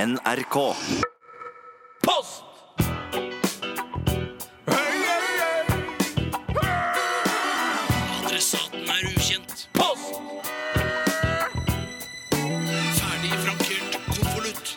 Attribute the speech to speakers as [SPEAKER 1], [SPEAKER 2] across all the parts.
[SPEAKER 1] NRK. Post!
[SPEAKER 2] Adressaten er ukjent.
[SPEAKER 1] Post!
[SPEAKER 2] Ferdig frankert konvolutt.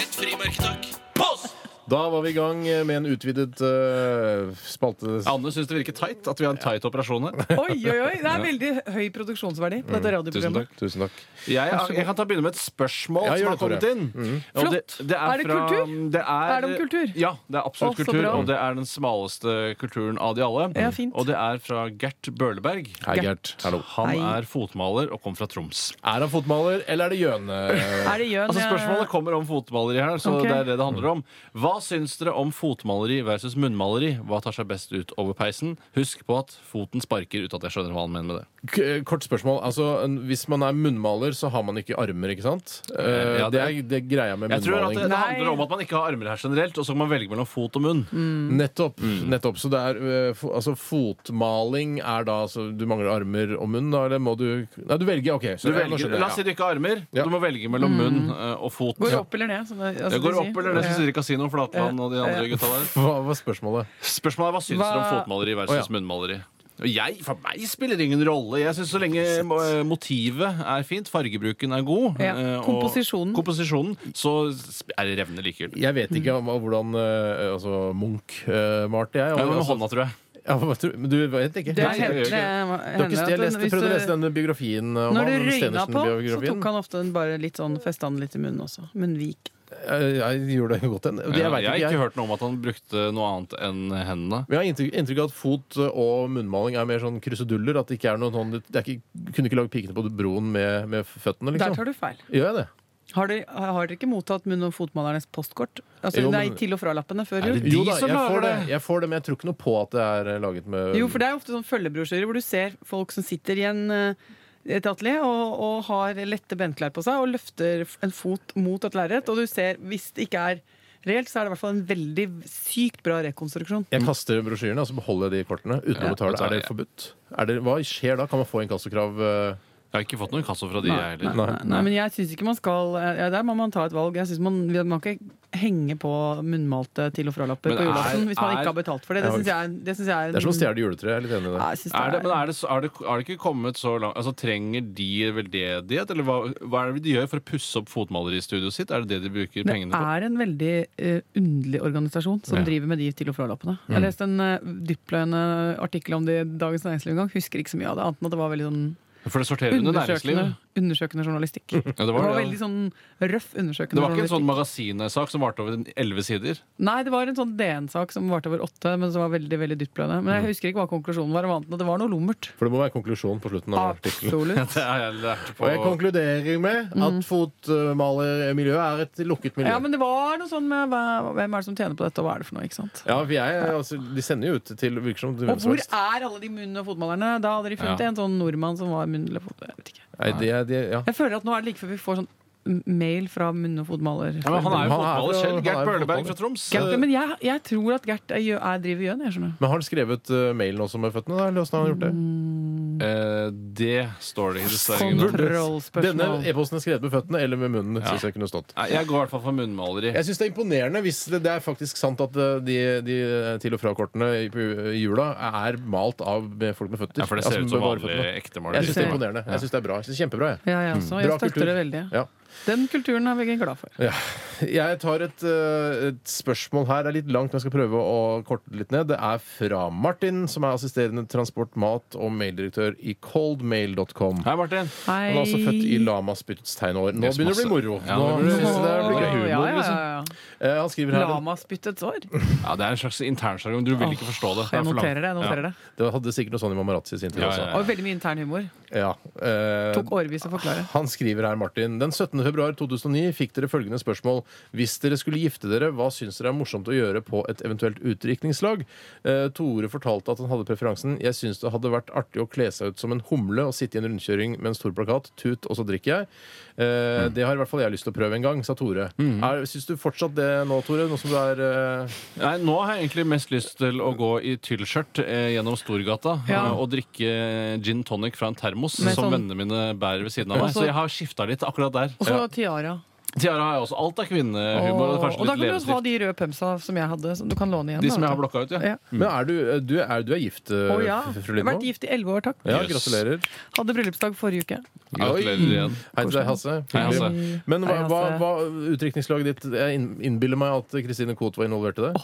[SPEAKER 2] Et frimerke, takk.
[SPEAKER 1] Post!
[SPEAKER 3] Da var vi i gang med en utvidet eh, spalte...
[SPEAKER 4] Anne syns det virker tight at vi har en tight operasjon her.
[SPEAKER 5] Oi, oi, oi! Det er veldig høy produksjonsverdi på dette
[SPEAKER 4] Mm. Tusen
[SPEAKER 5] radioprogrammet.
[SPEAKER 4] takk.
[SPEAKER 3] Tusen takk.
[SPEAKER 4] Jeg, jeg kan ta begynne med et spørsmål
[SPEAKER 3] Ja, gjør
[SPEAKER 4] som har
[SPEAKER 3] det, Tore. Mm.
[SPEAKER 4] kommet inn. Og
[SPEAKER 5] Flott. Er det kultur?
[SPEAKER 4] Det er,
[SPEAKER 5] Er det om kultur?
[SPEAKER 4] Ja, det er absolutt
[SPEAKER 5] Å, så
[SPEAKER 4] kultur.
[SPEAKER 5] bra.
[SPEAKER 4] Og det er den smaleste kulturen av de alle.
[SPEAKER 5] Ja, fint.
[SPEAKER 4] Og det er fra Gert Bøhleberg.
[SPEAKER 3] Hei, Gert. Hallo.
[SPEAKER 4] Han
[SPEAKER 5] Hei.
[SPEAKER 4] er fotmaler og kom fra Troms.
[SPEAKER 3] Er han fotmaler, eller er det gjøne?
[SPEAKER 5] Er det Jøn eh,
[SPEAKER 4] Altså Spørsmålet kommer om fotmaleri her. Så
[SPEAKER 5] Ok.
[SPEAKER 4] det er det det handler
[SPEAKER 3] Mm.
[SPEAKER 4] om Hva syns dere om fotmaleri versus munnmaleri? Hva tar seg best ut over peisen? Husk på at foten sparker uten at jeg skjønner hva han mener med det.
[SPEAKER 3] K- eh, Kort spørsmål. Altså, en- hvis man er munnmaler, så har man ikke armer, ikke sant? Eh,
[SPEAKER 4] Ja,
[SPEAKER 3] det,
[SPEAKER 4] det-
[SPEAKER 3] er, det er greia med
[SPEAKER 4] Jeg tror at det, det
[SPEAKER 3] munnmaling.
[SPEAKER 5] Nei.
[SPEAKER 4] handler om at man ikke har armer her generelt, og så kan man velge mellom fot og munn.
[SPEAKER 3] Nettopp.
[SPEAKER 4] Mm.
[SPEAKER 3] nettopp. Så det er eh, fo- altså, fotmaling er da altså, Du mangler armer og munn, da? Eller må du Nei, du velger. OK.
[SPEAKER 4] Du velger, la oss si du ikke har armer.
[SPEAKER 3] Ja.
[SPEAKER 4] Du må velge mellom munn eh, og fot.
[SPEAKER 5] Går opp eller ned? Som det, altså,
[SPEAKER 4] Det
[SPEAKER 5] de
[SPEAKER 4] går
[SPEAKER 5] sier.
[SPEAKER 4] opp eller ned, syns dere Kasino Flatland og de andre gutta der.
[SPEAKER 3] Hva var spørsmålet?
[SPEAKER 4] Spørsmålet er hva syns dere om
[SPEAKER 5] Hva-
[SPEAKER 4] fotmaleri versus
[SPEAKER 3] Å, ja.
[SPEAKER 4] munnmaleri? Og jeg, For meg spiller det ingen rolle. Jeg synes Så lenge eh, motivet er fint, fargebruken er god,
[SPEAKER 5] Ja.
[SPEAKER 4] eh, og
[SPEAKER 5] Komposisjonen.
[SPEAKER 4] komposisjonen, så sp- er det revnende likegyldig.
[SPEAKER 3] Jeg vet ikke om, hvordan eh, altså, Munch eh, malte jeg.
[SPEAKER 4] Ja, men med
[SPEAKER 3] Altså,
[SPEAKER 4] hånda, tror jeg.
[SPEAKER 3] ja, hva tror- men du vet ikke?
[SPEAKER 5] Det
[SPEAKER 4] Nei, det
[SPEAKER 5] hender
[SPEAKER 4] gjør
[SPEAKER 3] Du har ikke- jeg leste,
[SPEAKER 5] hvis
[SPEAKER 3] prøvde å
[SPEAKER 5] du-
[SPEAKER 3] lese den biografien eh, om
[SPEAKER 5] Når det
[SPEAKER 3] han,
[SPEAKER 5] røyna på, så
[SPEAKER 3] Stenersen-biografien.
[SPEAKER 5] tok han ofte en bare litt sånn festa den litt i munnen også. Munnvik.
[SPEAKER 3] Eh, Jeg gjorde det godt en. Jeg
[SPEAKER 4] Jeg,
[SPEAKER 3] vet
[SPEAKER 4] har ikke
[SPEAKER 3] ikke, jeg.
[SPEAKER 4] hørt noe om at han brukte noe annet enn hendene.
[SPEAKER 3] Men jeg har inntrykk, inntrykk av at fot eh, og munnmaling er mer sånn kruseduller. At det ikke er noen sånn det er ikke, Kunne ikke lage pikene på broen med, med føttene,
[SPEAKER 5] Der
[SPEAKER 3] liksom.
[SPEAKER 5] tar du feil.
[SPEAKER 3] Gjør jeg det?
[SPEAKER 5] Har dere, har dere ikke mottatt munn- og fotmalernes postkort? Altså,
[SPEAKER 3] Jo,
[SPEAKER 5] nei,
[SPEAKER 3] men-
[SPEAKER 5] til- og fralappene før jul?
[SPEAKER 4] de
[SPEAKER 3] jo da,
[SPEAKER 4] som
[SPEAKER 3] jeg
[SPEAKER 4] lager
[SPEAKER 3] får det.
[SPEAKER 4] det?
[SPEAKER 3] Jeg får det, men jeg tror ikke noe på at det er eh, laget med
[SPEAKER 5] Jo, for det er ofte sånn følgebrosjyrer hvor du ser folk som sitter i en eh, et atelier og, og har lette benklær på seg og løfter f- en fot mot et lerret. Og du ser, hvis det ikke er reelt, så er det i hvert fall en veldig sykt bra rekonstruksjon.
[SPEAKER 3] Jeg kaster brosjyrene og så beholder jeg de kortene uten
[SPEAKER 4] Ja,
[SPEAKER 3] å betale.
[SPEAKER 4] altså,
[SPEAKER 3] Er det
[SPEAKER 4] ja.
[SPEAKER 3] forbudt? Er det, hva skjer da? Kan man få inkassokrav? eh,
[SPEAKER 4] Jeg har ikke fått noen kasso fra de, jeg heller.
[SPEAKER 5] nei, nei, men jeg syns ikke man skal eh, ja, Der må man ta et valg. Jeg synes man, man kan ikke henge på munnmalte til- og fralapper
[SPEAKER 4] Men
[SPEAKER 5] på julaften
[SPEAKER 4] er-
[SPEAKER 5] hvis man
[SPEAKER 4] er-
[SPEAKER 5] ikke har betalt for det. Det
[SPEAKER 3] Ja,
[SPEAKER 5] syns jeg, er- det synes jeg
[SPEAKER 3] Det er som å stjele juletre. Jeg er litt enig i det.
[SPEAKER 5] Ja, jeg synes
[SPEAKER 4] Er det, men
[SPEAKER 5] det er-
[SPEAKER 4] er det, så- er, det, er det ikke kommet så langt Altså Trenger de veldedighet? Eller hva, hva er det de gjør for å pusse opp fotmaleristudioet sitt? Er det det de bruker
[SPEAKER 5] Det
[SPEAKER 4] pengene på?
[SPEAKER 5] er en veldig eh, underlig organisasjon som
[SPEAKER 4] Ja. Mm.
[SPEAKER 5] driver med de til- og fralappene. Jeg leste en uh, dyptpløyende artikkel om det i Dagens Næringsliv en gang. Husker ikke så mye av det, annet enn at det var veldig sånn
[SPEAKER 4] For det sorterer under næringsliv.
[SPEAKER 5] undersøkende, undersøkende journalistikk. det,
[SPEAKER 4] Ja, det,
[SPEAKER 5] var
[SPEAKER 4] var, det,
[SPEAKER 5] veldig
[SPEAKER 4] ja.
[SPEAKER 5] sånn røff
[SPEAKER 4] det
[SPEAKER 5] undersøkende
[SPEAKER 4] var ikke en sånn
[SPEAKER 5] journalistikk.
[SPEAKER 4] magasinsak som varte over elleve sider.
[SPEAKER 5] Nei, det var en sånn DN-sak som varte over åtte, men som var veldig veldig dyptpløyende. Men
[SPEAKER 4] Mm.
[SPEAKER 5] jeg husker ikke hva konklusjonen var, annet enn at det var noe lummert.
[SPEAKER 3] For det må være konklusjonen på slutten av artikkelen.
[SPEAKER 5] Absolutt.
[SPEAKER 4] Det har jeg lært
[SPEAKER 3] Og
[SPEAKER 4] på
[SPEAKER 3] jeg konkluderer med at fotmalermiljøet er et lukket miljø.
[SPEAKER 5] Mm. Ja, men det var noe sånn med hva- hvem er det som tjener på dette, og hva er det for noe? ikke sant?
[SPEAKER 3] Ja, for jeg, altså, De sender jo ut til virker som til hvem
[SPEAKER 5] Og
[SPEAKER 3] som
[SPEAKER 5] hvor
[SPEAKER 3] helst.
[SPEAKER 5] er alle de munn- og fotmalerne? Da hadde de funnet
[SPEAKER 4] Ja.
[SPEAKER 5] en sånn nordmann som var munn- eller fot... Jeg vet ikke.
[SPEAKER 3] Nei, det, er- det, ja.
[SPEAKER 5] Jeg føler at nå er det like før vi får sånn m- mail fra munn- og fotmaler.
[SPEAKER 4] ja, men Han er jo
[SPEAKER 3] Han er
[SPEAKER 4] fotmaler
[SPEAKER 3] jo-
[SPEAKER 4] selv.
[SPEAKER 3] han er
[SPEAKER 4] Gert
[SPEAKER 3] jo
[SPEAKER 4] Bøhleberg
[SPEAKER 3] fotballer.
[SPEAKER 4] fra Troms.
[SPEAKER 5] Gert, men jeg, jeg tror at Gert er, gjø- er driver gjøn, jeg skjønner.
[SPEAKER 3] Men har han skrevet eh, mailen også med føttene? da, Eller hvordan har han gjort det?
[SPEAKER 5] Mm,
[SPEAKER 4] Eh, det står det i dessverre.
[SPEAKER 3] Denne
[SPEAKER 5] Kontrollspørsmål.
[SPEAKER 3] e-posten er skrevet med føttene eller med munnen. Synes jeg kunne stått
[SPEAKER 4] Nei, Jeg går i hvert fall for munnmaleri.
[SPEAKER 3] jeg syns det er imponerende hvis det, det er faktisk sant at eh, de, de til og fra-kortene i på- i jula er malt av med folk med føtter.
[SPEAKER 4] Ja, for det ser
[SPEAKER 3] Altså,
[SPEAKER 4] ut som
[SPEAKER 3] med bare
[SPEAKER 4] vanlig
[SPEAKER 3] føttene.
[SPEAKER 4] ekte
[SPEAKER 3] Jeg syns det er
[SPEAKER 4] maleri.
[SPEAKER 3] imponerende. Jeg synes det er bra. Jeg synes det er Kjempebra. Jeg.
[SPEAKER 5] Ja, jeg også. Jeg
[SPEAKER 3] Bra kultur.
[SPEAKER 5] støtter det veldig.
[SPEAKER 3] Ja.
[SPEAKER 5] Den kulturen er vi glad for.
[SPEAKER 3] Ja. Jeg tar et, eh, et spørsmål her. Det er litt langt, men jeg skal prøve å korte det litt ned. Det er fra Martin, som er assisterende transport, mat og maildirektør i coldmail.com.
[SPEAKER 4] Hei, Martin.
[SPEAKER 3] Han er altså født i lamaspyttets tegnår. Nå
[SPEAKER 4] Yes,
[SPEAKER 3] begynner det å bli
[SPEAKER 4] masse.
[SPEAKER 3] moro.
[SPEAKER 4] Ja,
[SPEAKER 3] Nå
[SPEAKER 4] nå blir det-
[SPEAKER 3] synes jeg det blir gøy.
[SPEAKER 4] humor,
[SPEAKER 5] Ja, ja, ja, ja.
[SPEAKER 3] Eh, Han skriver her
[SPEAKER 5] Lamaspyttets år.
[SPEAKER 4] Ja, Det er en slags internsjargong. Du vil ikke forstå det. Det
[SPEAKER 5] Jeg
[SPEAKER 4] er for langt.
[SPEAKER 5] noterer det. jeg noterer det
[SPEAKER 3] Det hadde sikkert noe sånn i Mamarazzi i sin tid
[SPEAKER 4] Ja,
[SPEAKER 3] også.
[SPEAKER 4] ja, ja.
[SPEAKER 5] Og veldig mye intern humor.
[SPEAKER 3] Ja, eh,
[SPEAKER 5] Tok årevis å forklare.
[SPEAKER 3] han skriver her, Martin. Den 17. 18.2.2009 fikk dere følgende spørsmål. Hvis dere skulle gifte dere, hva syns dere er morsomt å gjøre på et eventuelt utdrikningslag? Eh, Tore fortalte at han hadde preferansen. Jeg syns det hadde vært artig å kle seg ut som en humle og sitte i en rundkjøring med en stor plakat. Tut, og så drikker jeg. Eh, Det har i hvert fall jeg lyst til å prøve en gang, sa Tore. Er- Syns du fortsatt det nå, Tore? Nå som du er eh,
[SPEAKER 4] Nei, Nå har jeg egentlig mest lyst til å gå i tyllskjørt eh, gjennom Storgata
[SPEAKER 5] Ja.
[SPEAKER 4] eh, og drikke gin tonic fra en termos
[SPEAKER 5] Med
[SPEAKER 4] som
[SPEAKER 5] sånn-
[SPEAKER 4] vennene mine bærer ved siden av meg.
[SPEAKER 5] Og så-
[SPEAKER 4] Så jeg har skifta litt akkurat der.
[SPEAKER 5] Og så tiara.
[SPEAKER 4] Tiara har jeg også. Alt er kvinnehumor. Og,
[SPEAKER 5] og,
[SPEAKER 4] kanskje
[SPEAKER 5] og da
[SPEAKER 4] litt
[SPEAKER 5] kan du ha
[SPEAKER 4] leppestift.
[SPEAKER 5] de røde pømsa som jeg hadde. Som du kan låne igjen.
[SPEAKER 4] De
[SPEAKER 5] da,
[SPEAKER 4] som jeg har
[SPEAKER 5] vet du.
[SPEAKER 4] blokka ut, ja.
[SPEAKER 5] Ja.
[SPEAKER 3] Men er du, du, er, du er gift, eh,
[SPEAKER 5] Å ja.
[SPEAKER 3] fru- fru
[SPEAKER 5] Jeg har
[SPEAKER 3] Lindmo?
[SPEAKER 5] vært gift i elleve år, takk.
[SPEAKER 3] Ja,
[SPEAKER 4] Yes.
[SPEAKER 3] gratulerer.
[SPEAKER 5] Hadde bryllupsdag forrige uke.
[SPEAKER 4] Gratulerer
[SPEAKER 3] Oi.
[SPEAKER 4] igjen.
[SPEAKER 3] Hei til deg, Hasse.
[SPEAKER 4] Hei, Hasse.
[SPEAKER 3] Hyggelig. Men hva,
[SPEAKER 5] Hei,
[SPEAKER 3] hva,
[SPEAKER 5] Hasse.
[SPEAKER 3] hva utdrikningslaget ditt Jeg inn- innbiller meg at Kristine Koht var involvert i det.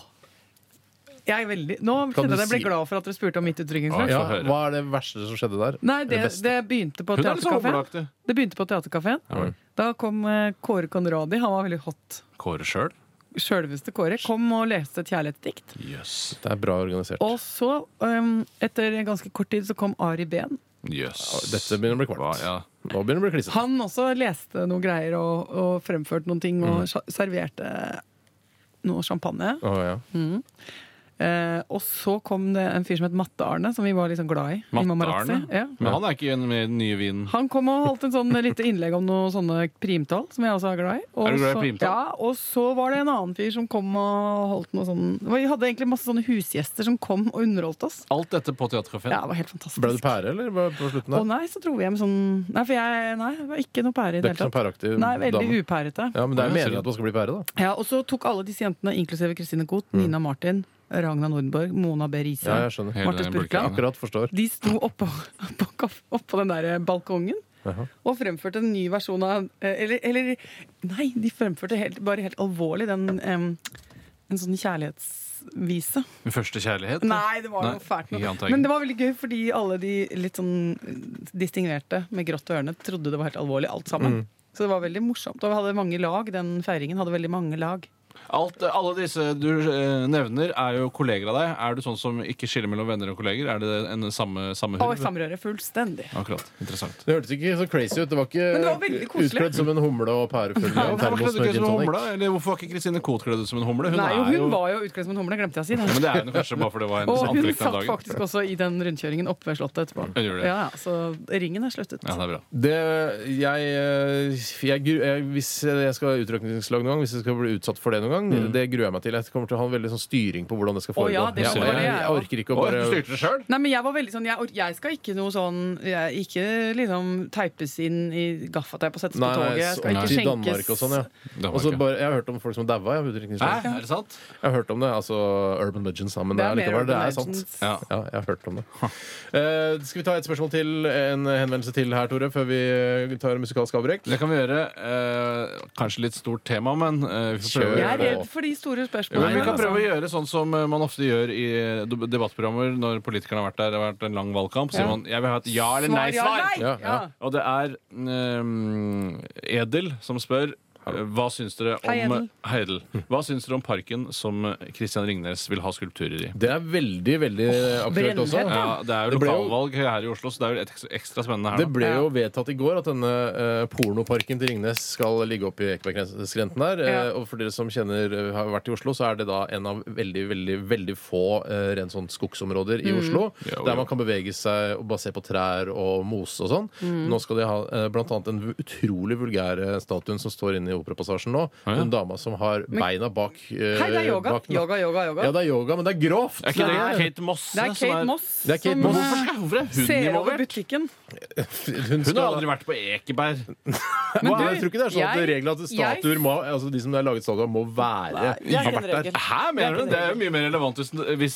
[SPEAKER 5] Jeg er veldig, nå
[SPEAKER 3] Kan
[SPEAKER 5] kjente
[SPEAKER 3] du
[SPEAKER 5] jeg at jeg ble
[SPEAKER 3] si-
[SPEAKER 5] glad for at dere spurte om mitt
[SPEAKER 4] Oi.
[SPEAKER 5] utdrikningslag.
[SPEAKER 3] ja,
[SPEAKER 4] få høre.
[SPEAKER 3] hva er det verste som skjedde der?
[SPEAKER 5] Nei, det,
[SPEAKER 3] beste.
[SPEAKER 5] det begynte på
[SPEAKER 4] Hun er litt sånn
[SPEAKER 5] teaterkafeen.
[SPEAKER 4] overlagt, du.
[SPEAKER 5] Det begynte på teaterkafeen.
[SPEAKER 4] Ja.
[SPEAKER 5] Da kom eh, Kåre Conradi. Han var veldig hot.
[SPEAKER 4] Kåre sjøl?
[SPEAKER 5] Sjølveste Kåre kom og leste et kjærlighetsdikt.
[SPEAKER 4] Jøss.
[SPEAKER 3] Det er bra organisert.
[SPEAKER 5] Og så, um, etter ganske kort tid, så kom Ari Behn.
[SPEAKER 4] Jøss.
[SPEAKER 3] Dette begynner å bli kvalmt.
[SPEAKER 4] Hva- ja.
[SPEAKER 3] Nå begynner det å bli klissete.
[SPEAKER 5] Han også leste noen greier og, og fremførte noen ting og sja- serverte noe champagne.
[SPEAKER 3] Å, ja.
[SPEAKER 5] Eh, og så kom det en fyr som het Matte-Arne, som vi var liksom glad i. i Mamarazzi.
[SPEAKER 4] Matte-Arne?
[SPEAKER 5] Ja.
[SPEAKER 4] Men han er ikke med i den nye vinen.
[SPEAKER 5] Han kom og holdt en sånn lite innlegg om noen sånne primtall, som jeg også er glad i. Og
[SPEAKER 4] Er du glad i
[SPEAKER 5] så-
[SPEAKER 4] primtall?
[SPEAKER 5] Ja, og så var det en annen fyr som kom og holdt noe sånn Vi hadde egentlig masse sånne husgjester som kom og underholdt oss.
[SPEAKER 4] Alt dette på Teatercaféen.
[SPEAKER 5] Ja, det var helt fantastisk.
[SPEAKER 3] Ble du pære, eller? var- På slutten
[SPEAKER 5] Å
[SPEAKER 3] der?
[SPEAKER 5] nei, så dro vi hjem sånn Nei, for jeg nei, det var ikke noe pære i
[SPEAKER 3] Du er ikke
[SPEAKER 5] det
[SPEAKER 3] sånn
[SPEAKER 5] hele tatt.
[SPEAKER 3] pæreaktiv
[SPEAKER 5] Nei, veldig
[SPEAKER 3] dame?
[SPEAKER 5] upærete.
[SPEAKER 3] Ja, men det er
[SPEAKER 4] Ja, jeg ser det.
[SPEAKER 3] meningen at man skal bli pære, da.
[SPEAKER 5] Ja, og så tok alle disse jentene, inklusive Kristine Koht, Nina Martin, Ragna Nordborg, Mona B. Riise,
[SPEAKER 3] Ja, jeg skjønner.
[SPEAKER 4] Hele
[SPEAKER 5] Marte
[SPEAKER 4] den bulken.
[SPEAKER 5] Spurkeland.
[SPEAKER 3] Akkurat forstår.
[SPEAKER 5] De sto oppå, oppå, kaff- oppå den der eh, balkongen
[SPEAKER 3] Jaha.
[SPEAKER 5] og fremførte en ny versjon av eh, Eller, eller nei, de fremførte helt, bare helt alvorlig den em, En sånn kjærlighetsvise.
[SPEAKER 4] Min første kjærlighet?
[SPEAKER 5] Nei, det var
[SPEAKER 4] Nei,
[SPEAKER 5] noe fælt.
[SPEAKER 4] ikke
[SPEAKER 5] Noe.
[SPEAKER 4] antagen.
[SPEAKER 5] Men det var veldig gøy, fordi alle de litt sånn distingverte med grått og ørene trodde det var helt alvorlig, alt sammen.
[SPEAKER 4] Mm.
[SPEAKER 5] Så det var veldig morsomt. Og vi hadde mange lag. Den feiringen hadde veldig mange lag.
[SPEAKER 4] Alt, alle disse du eh, nevner, er jo kolleger av deg. Er du sånn som ikke skiller mellom venner og kolleger? Er det en samme, samme
[SPEAKER 5] Og
[SPEAKER 4] hurv?
[SPEAKER 5] samrøret fullstendig.
[SPEAKER 4] Akkurat. Interessant.
[SPEAKER 3] Det hørtes ikke så crazy ut. Det var ikke
[SPEAKER 5] Men det var veldig koselig.
[SPEAKER 3] utkledd som en humle og pærefull
[SPEAKER 4] Ja, hvorfor,
[SPEAKER 3] og
[SPEAKER 4] kledde du
[SPEAKER 3] termos med
[SPEAKER 4] ikke
[SPEAKER 3] gin
[SPEAKER 4] som en humle?
[SPEAKER 3] tonic.
[SPEAKER 4] Eller hvorfor var ikke Kristine Koht kledd ut som en humle? Hun,
[SPEAKER 5] Nei, jo,
[SPEAKER 4] er jo
[SPEAKER 5] hun var jo utkledd som en humle, glemte jeg å si.
[SPEAKER 4] Men
[SPEAKER 5] Det.
[SPEAKER 4] det er hun kanskje bare fordi det var hennes
[SPEAKER 5] Og hun
[SPEAKER 4] antrekk den
[SPEAKER 5] satt
[SPEAKER 4] dagen.
[SPEAKER 5] faktisk også i den rundkjøringen oppe ved Slottet etterpå.
[SPEAKER 4] Hun gjorde det.
[SPEAKER 5] Ja, ja, Så ringen er sluttet.
[SPEAKER 4] Ja, det er bra.
[SPEAKER 3] Det, jeg, eh, jeg, gru- jeg, hvis jeg skal ha utrykningslag noen gang, hvis jeg skal bli utsatt for det noen gang, det gruer jeg meg til. Jeg kommer til å ha en veldig sånn styring på hvordan det skal
[SPEAKER 5] Å,
[SPEAKER 3] foregå.
[SPEAKER 5] ja, det
[SPEAKER 4] må
[SPEAKER 3] jeg,
[SPEAKER 4] være
[SPEAKER 3] jeg,
[SPEAKER 5] jeg også.
[SPEAKER 3] orker ikke å
[SPEAKER 4] Å,
[SPEAKER 3] bare
[SPEAKER 4] du styrte det sjøl?
[SPEAKER 5] Nei, men jeg var veldig sånn Jeg, jeg skal ikke noe sånn jeg, Ikke liksom teipes inn i gaffateip og settes
[SPEAKER 3] Nei,
[SPEAKER 5] på toget.
[SPEAKER 3] nei,
[SPEAKER 5] Jeg skal
[SPEAKER 3] til
[SPEAKER 5] ikke skjenkes
[SPEAKER 3] Danmark og sånn, ja. Og så bare, jeg har hørt om folk som daua. Jeg,
[SPEAKER 4] Hæ,
[SPEAKER 3] jeg
[SPEAKER 4] er det sant?
[SPEAKER 3] har hørt om det. Altså Urban Legends, da, men
[SPEAKER 5] Det
[SPEAKER 3] det
[SPEAKER 5] er
[SPEAKER 3] er,
[SPEAKER 5] mer
[SPEAKER 3] likevel, det
[SPEAKER 5] Urban
[SPEAKER 3] er sant.
[SPEAKER 5] Legends.
[SPEAKER 4] Ja.
[SPEAKER 3] Ja, jeg har hørt om det. Eh, skal vi ta et spørsmål til, en henvendelse til her, Tore, før vi eh, tar musikalsk avbrekk?
[SPEAKER 4] Det kan vi gjøre. Eh, kanskje litt stort tema, men eh, vi får
[SPEAKER 3] Kjør.
[SPEAKER 4] prøve.
[SPEAKER 5] Jeg er redd for de
[SPEAKER 4] Jo,
[SPEAKER 5] store
[SPEAKER 4] men
[SPEAKER 5] spørsmålene.
[SPEAKER 4] vi kan
[SPEAKER 5] altså.
[SPEAKER 4] prøve å gjøre sånn som eh, man ofte gjør i eh, deb- debattprogrammer når politikerne har vært der. Det har vært en lang valgkamp. Så
[SPEAKER 5] Ja.
[SPEAKER 4] sier man jeg vil ha et ja eller
[SPEAKER 5] Svar ja,
[SPEAKER 4] nei-svar.
[SPEAKER 5] nei!
[SPEAKER 3] Ja, ja.
[SPEAKER 5] Ja.
[SPEAKER 4] Og det er mm, Edel som spør eh, hva syns dere om
[SPEAKER 5] Hei, Edel.
[SPEAKER 4] Hei, Edel. Hva syns dere om parken som eh, Christian Ringnes vil ha skulpturer i?
[SPEAKER 3] Det er veldig, veldig aktuelt også.
[SPEAKER 5] brennhett,
[SPEAKER 4] Ja, Det er jo
[SPEAKER 3] Det ble jo-
[SPEAKER 4] lokalvalg her i Oslo, så det er jo et ekstra spennende her.
[SPEAKER 3] Det
[SPEAKER 4] nå.
[SPEAKER 3] ble jo vedtatt i går at denne eh, pornoparken til Ringnes skal ligge oppe i Ekebergskrenten der. Eh,
[SPEAKER 5] Ja.
[SPEAKER 3] og for dere som kjenner eh, har vært i Oslo, så er det da en av veldig veldig, veldig få eh, rent sånn skogsområder
[SPEAKER 5] Mm.
[SPEAKER 3] i Oslo.
[SPEAKER 4] Ja, og ja.
[SPEAKER 3] Der man kan bevege seg og bare se på trær og mose og sånn.
[SPEAKER 5] Mm.
[SPEAKER 3] Nå skal de ha eh, blant annet den utrolig vulgære statuen som står inne i Operapassasjen nå.
[SPEAKER 4] Ja, ja.
[SPEAKER 3] Den dama som har beina bak eh,
[SPEAKER 5] Hei, det er yoga.
[SPEAKER 3] bak-
[SPEAKER 5] Yoga, yoga, yoga.
[SPEAKER 3] Ja, det er yoga, men det er grovt!
[SPEAKER 4] Er ikke det
[SPEAKER 5] Nei.
[SPEAKER 4] Kate Mosse?
[SPEAKER 5] Det er
[SPEAKER 4] som
[SPEAKER 5] Kate Moss
[SPEAKER 3] Det er Kate
[SPEAKER 5] som
[SPEAKER 3] Moss.
[SPEAKER 5] eh,
[SPEAKER 4] Hvorfor skal- hvorfor er hun
[SPEAKER 5] ser over
[SPEAKER 4] involvert?
[SPEAKER 5] butikken.
[SPEAKER 3] Hun,
[SPEAKER 4] Hun
[SPEAKER 3] skal-
[SPEAKER 4] har aldri vært på Ekeberg.
[SPEAKER 3] Hva, jeg tror ikke det er sånn at
[SPEAKER 5] jeg-
[SPEAKER 3] reglene at statuer
[SPEAKER 5] jeg-
[SPEAKER 3] må Altså de som har laget statuer, må være
[SPEAKER 5] Nei, jeg
[SPEAKER 3] har
[SPEAKER 5] kjenner
[SPEAKER 3] vært der.
[SPEAKER 5] regel.
[SPEAKER 4] Hæ, mener du? Det er jo mye mer relevant hvis,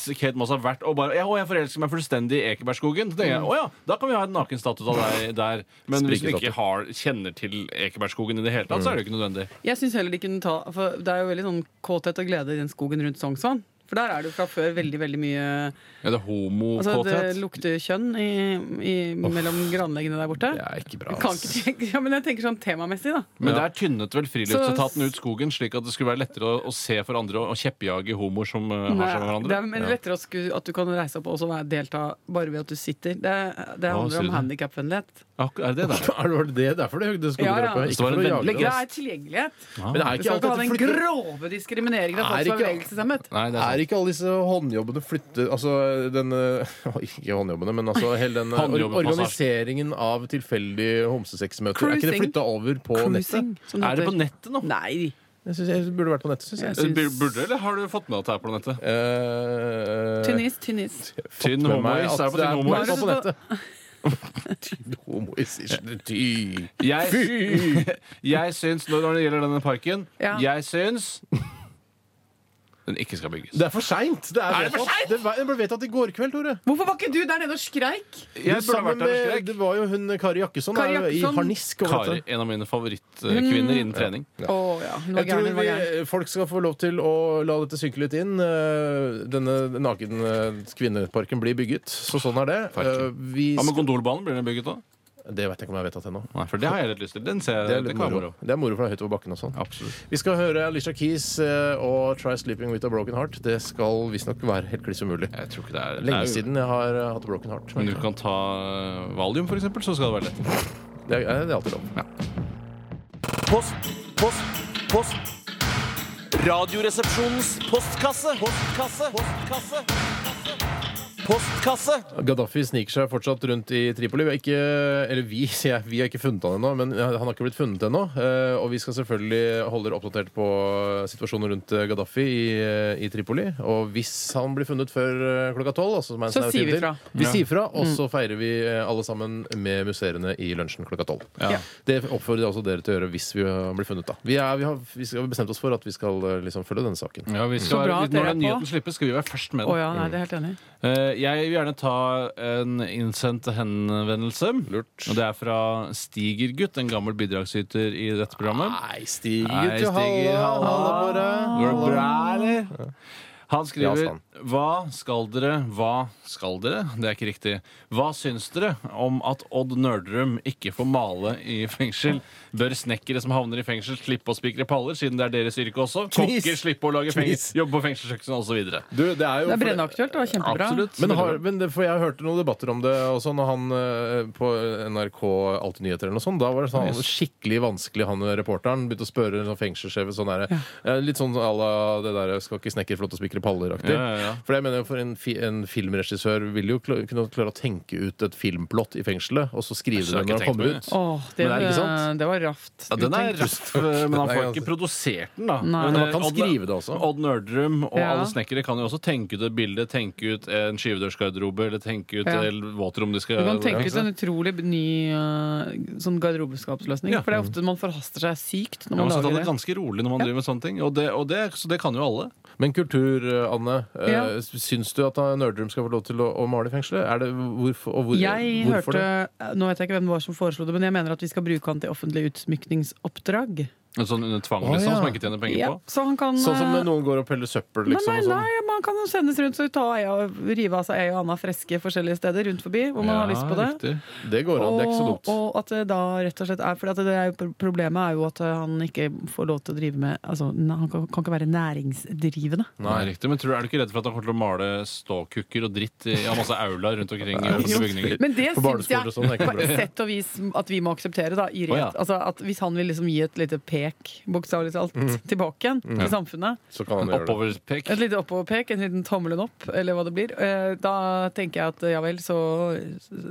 [SPEAKER 4] hvis Kate Moss har vært og bare ja, å, jeg forelsker meg fullstendig i Ekebergskogen. Så tenker jeg, å ja, Da kan vi ha en nakenstatue av deg der. Men hvis du ikke har, kjenner til Ekebergskogen i det hele tatt, så er det jo ikke nødvendig.
[SPEAKER 5] Jeg syns heller de kunne ta For det er jo veldig sånn kåthet og glede i den skogen rundt Sognsvann. For der er det jo fra før veldig veldig mye
[SPEAKER 4] Er det
[SPEAKER 5] Altså Det
[SPEAKER 4] homokåthet?
[SPEAKER 5] lukter kjønn i, i, mellom granleggene der borte.
[SPEAKER 3] Det er ikke bra.
[SPEAKER 5] Kan
[SPEAKER 3] ass.
[SPEAKER 5] ikke tenke, ja, men jeg tenker sånn temamessig, da.
[SPEAKER 4] Men der tynnet vel friluftsetaten ut skogen, slik at det skulle være lettere å, å se for andre og, og kjeppjage homoer som eh, har seg med
[SPEAKER 5] Nei, det
[SPEAKER 4] hverandre?
[SPEAKER 5] er men lettere å sku, at du kan reise opp og også være- delta bare ved at du sitter. Det, det
[SPEAKER 4] Hva sier
[SPEAKER 5] handler
[SPEAKER 4] du?
[SPEAKER 5] om handikapvennlighet.
[SPEAKER 4] Ak- Er det det?
[SPEAKER 3] Er det- var det det derfor det høyde skoler
[SPEAKER 5] Ja, ja.
[SPEAKER 3] opp her?
[SPEAKER 4] Så
[SPEAKER 3] Ikke
[SPEAKER 4] var det en
[SPEAKER 3] for å jage
[SPEAKER 4] veldig-
[SPEAKER 5] Det
[SPEAKER 3] det,
[SPEAKER 5] er
[SPEAKER 3] ass.
[SPEAKER 5] tilgjengelighet.
[SPEAKER 3] Men det er ikke alt
[SPEAKER 5] Du skal ikke ha
[SPEAKER 3] dette
[SPEAKER 5] den
[SPEAKER 3] flytter
[SPEAKER 5] grove diskrimineringen av
[SPEAKER 3] Er
[SPEAKER 5] folk som er
[SPEAKER 3] ikke-
[SPEAKER 5] bevegelseshemmet.
[SPEAKER 4] Nei, det
[SPEAKER 3] Er
[SPEAKER 4] er sant.
[SPEAKER 3] ikke alle disse håndjobbene flytte Altså den eh, Ikke håndjobbene, men altså hele den eh, or
[SPEAKER 4] Håndjobbet massasje.
[SPEAKER 3] organiseringen av tilfeldige homsesexmøter. Er ikke det
[SPEAKER 5] Cruising.
[SPEAKER 3] flytta over på
[SPEAKER 5] Cruising, som det
[SPEAKER 4] Er det på
[SPEAKER 5] heter.
[SPEAKER 4] nettet nå?
[SPEAKER 5] Nei.
[SPEAKER 3] nettet? Jeg synes jeg burde vært på nettet, syns jeg.
[SPEAKER 5] Jeg
[SPEAKER 4] Eh,
[SPEAKER 5] syns-
[SPEAKER 4] bur- Burde, eller har du fått med at det er på nettet?
[SPEAKER 3] Eh,
[SPEAKER 5] Tynnis, tynnis.
[SPEAKER 4] Tynn
[SPEAKER 3] med meg
[SPEAKER 4] homois
[SPEAKER 3] at
[SPEAKER 4] er på
[SPEAKER 3] det
[SPEAKER 4] tynn
[SPEAKER 3] er
[SPEAKER 5] Hva er
[SPEAKER 4] homois.
[SPEAKER 5] det
[SPEAKER 3] på nettet.
[SPEAKER 5] du-
[SPEAKER 3] Tynn homois ikke ty.
[SPEAKER 4] Jeg, jeg syns, når når det gjelder denne parken,
[SPEAKER 5] Ja.
[SPEAKER 4] jeg syns den ikke skal bygges.
[SPEAKER 3] Det er for seint! Det, er vedtatt. det var- det ble vedtatt i går kveld, Tore.
[SPEAKER 5] Hvorfor var ikke du der nede og skreik?
[SPEAKER 4] Jeg burde
[SPEAKER 3] Sammen
[SPEAKER 4] vært der og
[SPEAKER 3] med,
[SPEAKER 4] skrek.
[SPEAKER 3] det var jo hun Kari Jakkesson
[SPEAKER 5] Kari
[SPEAKER 3] er jo i
[SPEAKER 5] Jakkesson.
[SPEAKER 3] harnisk. over
[SPEAKER 4] Kari,
[SPEAKER 3] dette.
[SPEAKER 4] en av mine favorittkvinner
[SPEAKER 5] Mm.
[SPEAKER 4] innen trening.
[SPEAKER 5] Å ja, hun var
[SPEAKER 3] Jeg
[SPEAKER 5] gæren.
[SPEAKER 3] tror
[SPEAKER 5] Hun var gæren.
[SPEAKER 3] vi, folk skal få lov til å la dette synke litt inn. Eh, Denne naken eh, kvinneparken blir bygget, så sånn er det.
[SPEAKER 4] Parken.
[SPEAKER 3] Eh, Vi
[SPEAKER 4] Ja, men
[SPEAKER 3] sk-
[SPEAKER 4] Gondolbanen blir den bygget da?
[SPEAKER 3] det vet jeg ikke om jeg vet at ennå.
[SPEAKER 4] Nei, for det har jeg litt lyst til. Den ser jeg.
[SPEAKER 3] Det er
[SPEAKER 4] det
[SPEAKER 3] litt
[SPEAKER 4] kan være
[SPEAKER 3] moro. Det er moro for det er høyt over bakken og sånn.
[SPEAKER 4] Absolutt.
[SPEAKER 3] Vi skal høre Alicia Keys eh, og 'Try Sleeping With A Broken Heart'. Det skal visstnok være helt kliss umulig.
[SPEAKER 4] Jeg tror ikke det er
[SPEAKER 3] Lenge
[SPEAKER 4] det er jo-
[SPEAKER 3] siden jeg har eh, hatt broken heart.
[SPEAKER 4] Men du kan ta eh, Valium, for eksempel, så skal det være lett.
[SPEAKER 3] Det er, det er alltid lov.
[SPEAKER 1] Post, post, post. Radioresepsjonens postkasse. Postkasse. Postkasse. Postkasse.
[SPEAKER 3] Gaddafi sniker seg fortsatt rundt i Tripoli. Vi har ikke, eller vi, sier jeg, vi har ikke funnet han ennå, men han har ikke blitt funnet ennå. Eh, Og vi skal selvfølgelig holde dere oppdatert på situasjonen rundt eh, Gaddafi i, eh, i Tripoli. Og hvis han blir funnet før eh, klokka tolv, altså som er en
[SPEAKER 5] Så
[SPEAKER 3] snau
[SPEAKER 5] sier
[SPEAKER 3] time
[SPEAKER 5] vi
[SPEAKER 3] til,
[SPEAKER 5] fra. Mm.
[SPEAKER 3] Vi sier fra, og så feirer vi eh, alle sammen med musserende i lunsjen klokka tolv.
[SPEAKER 4] Ja.
[SPEAKER 3] Det oppfordrer jeg også dere til å gjøre hvis vi eh, blir funnet, da. Vi, er, vi, har, vi skal- vi har bestemt oss for at vi skal eh, liksom følge denne saken.
[SPEAKER 4] Ja, vi skal
[SPEAKER 5] Så bra
[SPEAKER 4] være, når
[SPEAKER 5] at dere er
[SPEAKER 4] den nyheten
[SPEAKER 5] på.
[SPEAKER 4] slippes, skal vi være først med
[SPEAKER 5] Å
[SPEAKER 4] den.
[SPEAKER 5] ja, nei, det er jeg helt enig. i.
[SPEAKER 4] Eh, Jeg vil gjerne ta en innsendt henvendelse.
[SPEAKER 3] Lurt.
[SPEAKER 4] Og det er fra Stigergutt, en gammel bidragsyter i dette programmet.
[SPEAKER 3] Nei, Ah, stiger
[SPEAKER 4] Nei,
[SPEAKER 3] til
[SPEAKER 4] Stiger, halla.
[SPEAKER 3] halla.
[SPEAKER 4] Går det bra, eller? Han
[SPEAKER 3] Ja,
[SPEAKER 4] skriver
[SPEAKER 3] sann.
[SPEAKER 4] Hva skal dere, hva skal dere? Det er ikke riktig. Hva syns dere om at Odd Nerdrum ikke får male i fengsel? Bør snekkere som havner i fengsel, slippe å spikre paller, siden det er deres yrke også?
[SPEAKER 3] Please.
[SPEAKER 4] Kokker slippe å lage
[SPEAKER 3] Please.
[SPEAKER 4] fengsel, jobbe på fengselskjøkken osv.
[SPEAKER 3] Du, det er jo
[SPEAKER 5] Det er brennaktuelt og kjempebra.
[SPEAKER 4] Absolutt.
[SPEAKER 3] Men, har, men det, for jeg hørte noen debatter om det og sånn, og han eh, på NRK Alltid Nyheter eller noe sånt, da var det sånn, han var skikkelig vanskelig, han reporteren. Begynte å spørre en sånn fengselssjef sånn der, eh, Litt sånn à la det der 'skal ikke snekker flott og spikre paller'-aktig.
[SPEAKER 4] Ja, ja, ja.
[SPEAKER 3] For jeg mener jo, for en, fi, en filmregissør ville jo kla- kunne klare å tenke ut et filmplott i fengselet, og så skrive
[SPEAKER 4] Jeg har
[SPEAKER 3] det når
[SPEAKER 4] ikke
[SPEAKER 3] han
[SPEAKER 4] tenkt på
[SPEAKER 3] kommer
[SPEAKER 4] det.
[SPEAKER 3] ut.
[SPEAKER 5] Åh, det,
[SPEAKER 3] Men det er ikke sant?
[SPEAKER 5] det var raft.
[SPEAKER 4] Ja, den er
[SPEAKER 5] uttenkt.
[SPEAKER 4] raff, eh, men han
[SPEAKER 3] Den er
[SPEAKER 4] får
[SPEAKER 3] ganske-
[SPEAKER 4] ikke produsert den, da.
[SPEAKER 5] Nei.
[SPEAKER 4] Men,
[SPEAKER 3] Men
[SPEAKER 4] eh,
[SPEAKER 3] han kan
[SPEAKER 4] Odd-
[SPEAKER 3] skrive det også.
[SPEAKER 4] Odd Nerdrum og
[SPEAKER 5] Ja.
[SPEAKER 4] alle snekkere kan jo også tenke ut et bilde, tenke ut en skyvedørsgarderobe, eller tenke ut
[SPEAKER 5] Ja.
[SPEAKER 4] et våtrom de skal
[SPEAKER 5] Du
[SPEAKER 3] eh,
[SPEAKER 5] kan tenke
[SPEAKER 4] ikke
[SPEAKER 5] ut
[SPEAKER 4] sant?
[SPEAKER 5] en utrolig ny eh, sånn garderobeskapsløsning.
[SPEAKER 4] Ja.
[SPEAKER 5] For det er ofte man forhaster seg sykt når
[SPEAKER 4] Man
[SPEAKER 5] man
[SPEAKER 4] skal ta det
[SPEAKER 5] lager det.
[SPEAKER 4] ganske rolig når man driver med sånne ting. Og det, og det, så det kan jo alle.
[SPEAKER 3] Men kultur, eh, Anne. eh,
[SPEAKER 5] Ja.
[SPEAKER 3] s- Syns du at eh, Nerdrum skal få lov til å, å male i fengselet? Er det, hvorfor, og hvor,
[SPEAKER 5] Jeg
[SPEAKER 3] hvorfor
[SPEAKER 5] hørte,
[SPEAKER 3] det?
[SPEAKER 5] nå vet jeg ikke hvem det var som foreslo det, men jeg mener at vi skal bruke han til offentlig utsmykningsoppdrag.
[SPEAKER 4] En sånn under tvang,
[SPEAKER 3] Å,
[SPEAKER 4] liksom,
[SPEAKER 3] ja.
[SPEAKER 4] som man ikke tjener penger
[SPEAKER 5] Ja,
[SPEAKER 4] på.
[SPEAKER 5] så han kan
[SPEAKER 3] Sånn som
[SPEAKER 5] eh,
[SPEAKER 3] når noen går og peller søppel, liksom?
[SPEAKER 5] men
[SPEAKER 3] og
[SPEAKER 5] nei,
[SPEAKER 3] sånn.
[SPEAKER 5] nei, man kan jo sendes rundt så ta ei og rive av seg ei og anna freske forskjellige steder rundt forbi hvor man har lyst på det.
[SPEAKER 4] riktig.
[SPEAKER 3] Det går an. Det er ikke så
[SPEAKER 5] Og,
[SPEAKER 3] dumt.
[SPEAKER 5] og at det da rett og slett er For det er jo, pro- problemet er jo at eh, han ikke får lov til å drive med altså, n- Han kan, kan ikke være næringsdrivende.
[SPEAKER 4] Nei, riktig. Men tror, du- er du ikke redd for at han kommer til å male ståkukker og dritt i ja, masse aula rundt omkring? i offentlige bygninger?
[SPEAKER 5] Men det
[SPEAKER 3] På
[SPEAKER 5] syns
[SPEAKER 3] barneskoler
[SPEAKER 5] jeg
[SPEAKER 3] og sånn. det er ikke
[SPEAKER 5] på
[SPEAKER 3] bra.
[SPEAKER 5] et sett og vis at vi må akseptere. da i rent.
[SPEAKER 4] Å, ja.
[SPEAKER 5] altså, at Hvis han vil liksom gi et lite pek, bokstavelig talt,
[SPEAKER 3] Mm.
[SPEAKER 5] tilbake igjen til samfunnet,
[SPEAKER 3] Så kan han
[SPEAKER 5] liksom.
[SPEAKER 3] gjøre det.
[SPEAKER 4] Oppoverpek.
[SPEAKER 5] et lite oppoverpek, en liten tommelen opp, eller hva det blir, eh, da tenker jeg at eh, ja vel, så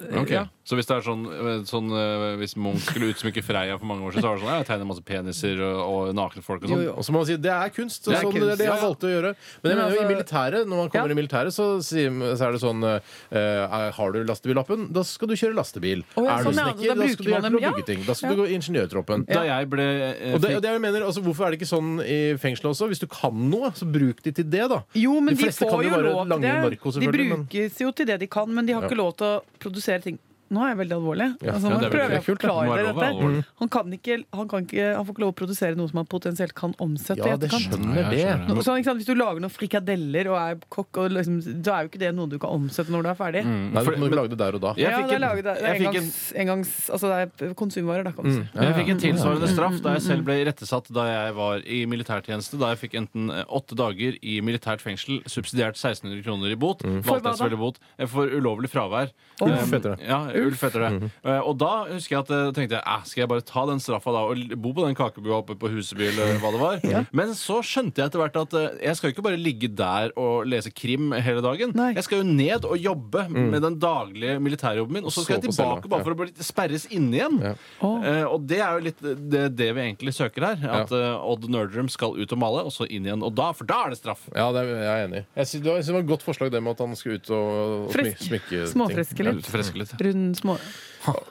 [SPEAKER 4] Ok.
[SPEAKER 5] Eh, ja.
[SPEAKER 4] Så hvis det er sånn, eh, sånn eh, Hvis Munch skulle utsmykke Freia for mange år siden, så var det sånn ja, jeg tegner masse peniser og, og nakne folk og
[SPEAKER 5] Jo,
[SPEAKER 4] sånn.
[SPEAKER 5] jo.
[SPEAKER 3] Og så må man si det er kunst. og
[SPEAKER 4] Det er
[SPEAKER 3] sånn, det
[SPEAKER 4] kunst,
[SPEAKER 3] er det
[SPEAKER 4] ja,
[SPEAKER 3] han
[SPEAKER 4] ja.
[SPEAKER 3] valgte å gjøre. Men jeg
[SPEAKER 5] Men
[SPEAKER 3] mener jo i
[SPEAKER 5] altså-
[SPEAKER 3] militæret, når man kommer
[SPEAKER 5] Ja.
[SPEAKER 3] i militæret, så, sier, så er det sånn eh, eh, Har du lastebillappen, da skal du kjøre lastebil.
[SPEAKER 5] Å,
[SPEAKER 3] er
[SPEAKER 5] ja,
[SPEAKER 3] du
[SPEAKER 5] sånn, ja, da
[SPEAKER 3] snekker, da
[SPEAKER 5] bruker
[SPEAKER 3] skal du
[SPEAKER 5] man
[SPEAKER 3] hjelpe til å
[SPEAKER 5] dem,
[SPEAKER 3] bygge
[SPEAKER 5] ja.
[SPEAKER 3] ting. Da skal du gå i ingeniørtroppen.
[SPEAKER 4] Da jeg ble eh,
[SPEAKER 3] Og det, og det er jo jeg mener, altså Hvorfor er det ikke sånn i fengselet også? Hvis du kan noe, så bruk de til det, da.
[SPEAKER 5] Jo, men
[SPEAKER 3] de
[SPEAKER 5] de,
[SPEAKER 3] fleste
[SPEAKER 5] får
[SPEAKER 3] kan
[SPEAKER 5] jo
[SPEAKER 3] jo bare
[SPEAKER 5] lov til
[SPEAKER 3] lange
[SPEAKER 5] det.
[SPEAKER 3] narko,
[SPEAKER 5] de
[SPEAKER 3] selvfølgelig. men-
[SPEAKER 5] brukes jo til det de kan, men de har
[SPEAKER 3] Ja.
[SPEAKER 5] ikke lov til å produsere ting nå er jeg veldig alvorlig.
[SPEAKER 3] Ja,
[SPEAKER 5] altså,
[SPEAKER 4] ja, det er
[SPEAKER 5] nå
[SPEAKER 4] veldig-
[SPEAKER 3] det
[SPEAKER 5] prøver jeg å
[SPEAKER 3] er kult,
[SPEAKER 4] Må
[SPEAKER 3] det.
[SPEAKER 5] forklare
[SPEAKER 4] være lov å være
[SPEAKER 5] dette.
[SPEAKER 4] alvorlig.
[SPEAKER 5] Han, kan ikke, han, kan ikke, han får ikke lov å produsere noe som han potensielt kan omsette i
[SPEAKER 3] Ja, det
[SPEAKER 5] etterkant.
[SPEAKER 3] skjønner
[SPEAKER 4] Ja, jeg
[SPEAKER 3] det.
[SPEAKER 4] skjønner.
[SPEAKER 5] Nå- sånn, ikke sant? Hvis du lager noen frikadeller og er kokk, og liksom, da er jo ikke det noe du kan omsette når du er ferdig.
[SPEAKER 3] Nei, du må lage det der og da.
[SPEAKER 4] Jeg
[SPEAKER 5] ja,
[SPEAKER 4] fikk
[SPEAKER 5] det er
[SPEAKER 4] en-
[SPEAKER 5] laget, det er
[SPEAKER 4] jeg fikk en-
[SPEAKER 5] engangs, engangs, altså det er konsumvarer, da.
[SPEAKER 3] Mm.
[SPEAKER 5] Kan du si.
[SPEAKER 4] Men jeg fikk en tilsvarende straff da jeg selv ble irettesatt da jeg var i militærtjeneste. Da jeg fikk enten eh, åtte dager i militært fengsel, subsidiært 1600 kroner i bot.
[SPEAKER 5] For hva
[SPEAKER 4] Valgte jeg selvfølgelig bot eh, For ulovlig fravær. Eh,
[SPEAKER 3] Ulf Mm. heter det. Mm-hmm.
[SPEAKER 4] Ja, Ulf heter det. Eh, Og da husker jeg at eh, tenkte jeg, "Eh, skal jeg bare ta den straffa da og l- bo på den kakebua oppe på Huseby eller hva det var. Men så skjønte jeg etter hvert at eh, jeg skal jo ikke bare ligge der og lese krim hele dagen.
[SPEAKER 5] Nei.
[SPEAKER 4] Jeg skal jo ned og jobbe
[SPEAKER 3] Mm.
[SPEAKER 4] med den daglige militærjobben min, og så skal jeg
[SPEAKER 3] Så på cella,
[SPEAKER 4] tilbake bare
[SPEAKER 3] ja.
[SPEAKER 4] for å bli sperres inne igjen.
[SPEAKER 3] Ja.
[SPEAKER 5] Åh.
[SPEAKER 4] Eh, og det er jo litt det, det vi egentlig søker her. At eh, Odd Nerdrum skal ut og male, og så inn igjen. Og da, for da er det straff!
[SPEAKER 3] Ja, det er, jeg er enig. Jeg synes, det var- jeg synes det var et godt forslag det med at han skal ut og, og smy,
[SPEAKER 5] Fresk.
[SPEAKER 3] smykke ting.
[SPEAKER 5] Småfreske
[SPEAKER 4] Ja,
[SPEAKER 5] litt.
[SPEAKER 4] litt freske litt.
[SPEAKER 5] Rund små...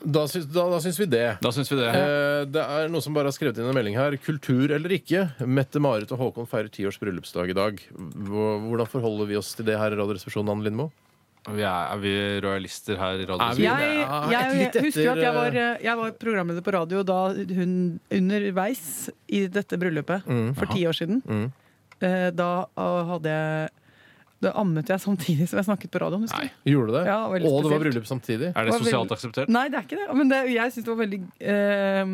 [SPEAKER 3] Da syns, da, da syns vi det.
[SPEAKER 4] Da syns vi det.
[SPEAKER 3] Eh, Det er noen som bare har skrevet inn en melding her. Kultur eller ikke? Mette-Marit og Håkon feirer tiårs bryllupsdag i dag. Hvor- Hvordan forholder vi oss til det her i Radioresepsjonen, Anne Lindmo?
[SPEAKER 4] Vi er, er vi rojalister her i
[SPEAKER 3] Er
[SPEAKER 4] radioen?
[SPEAKER 3] vi-
[SPEAKER 5] Jeg,
[SPEAKER 3] Ja,
[SPEAKER 5] jeg,
[SPEAKER 3] litt etter-
[SPEAKER 5] husker jo at jeg var, eh, jeg var programleder på radio da hun underveis i dette bryllupet
[SPEAKER 3] Mm.
[SPEAKER 5] for ti år siden. eh, Da eh, hadde jeg Da ammet jeg samtidig som jeg snakket på radioen. Husker
[SPEAKER 4] Nei.
[SPEAKER 5] du?
[SPEAKER 3] Gjorde det?
[SPEAKER 5] Ja, veldig
[SPEAKER 3] og det var
[SPEAKER 5] spesielt.
[SPEAKER 3] bryllup samtidig?
[SPEAKER 4] Er det
[SPEAKER 5] Var
[SPEAKER 4] sosialt
[SPEAKER 5] vel-
[SPEAKER 4] akseptert?
[SPEAKER 5] Nei, det er ikke det. Men det, jeg syns det var veldig eh,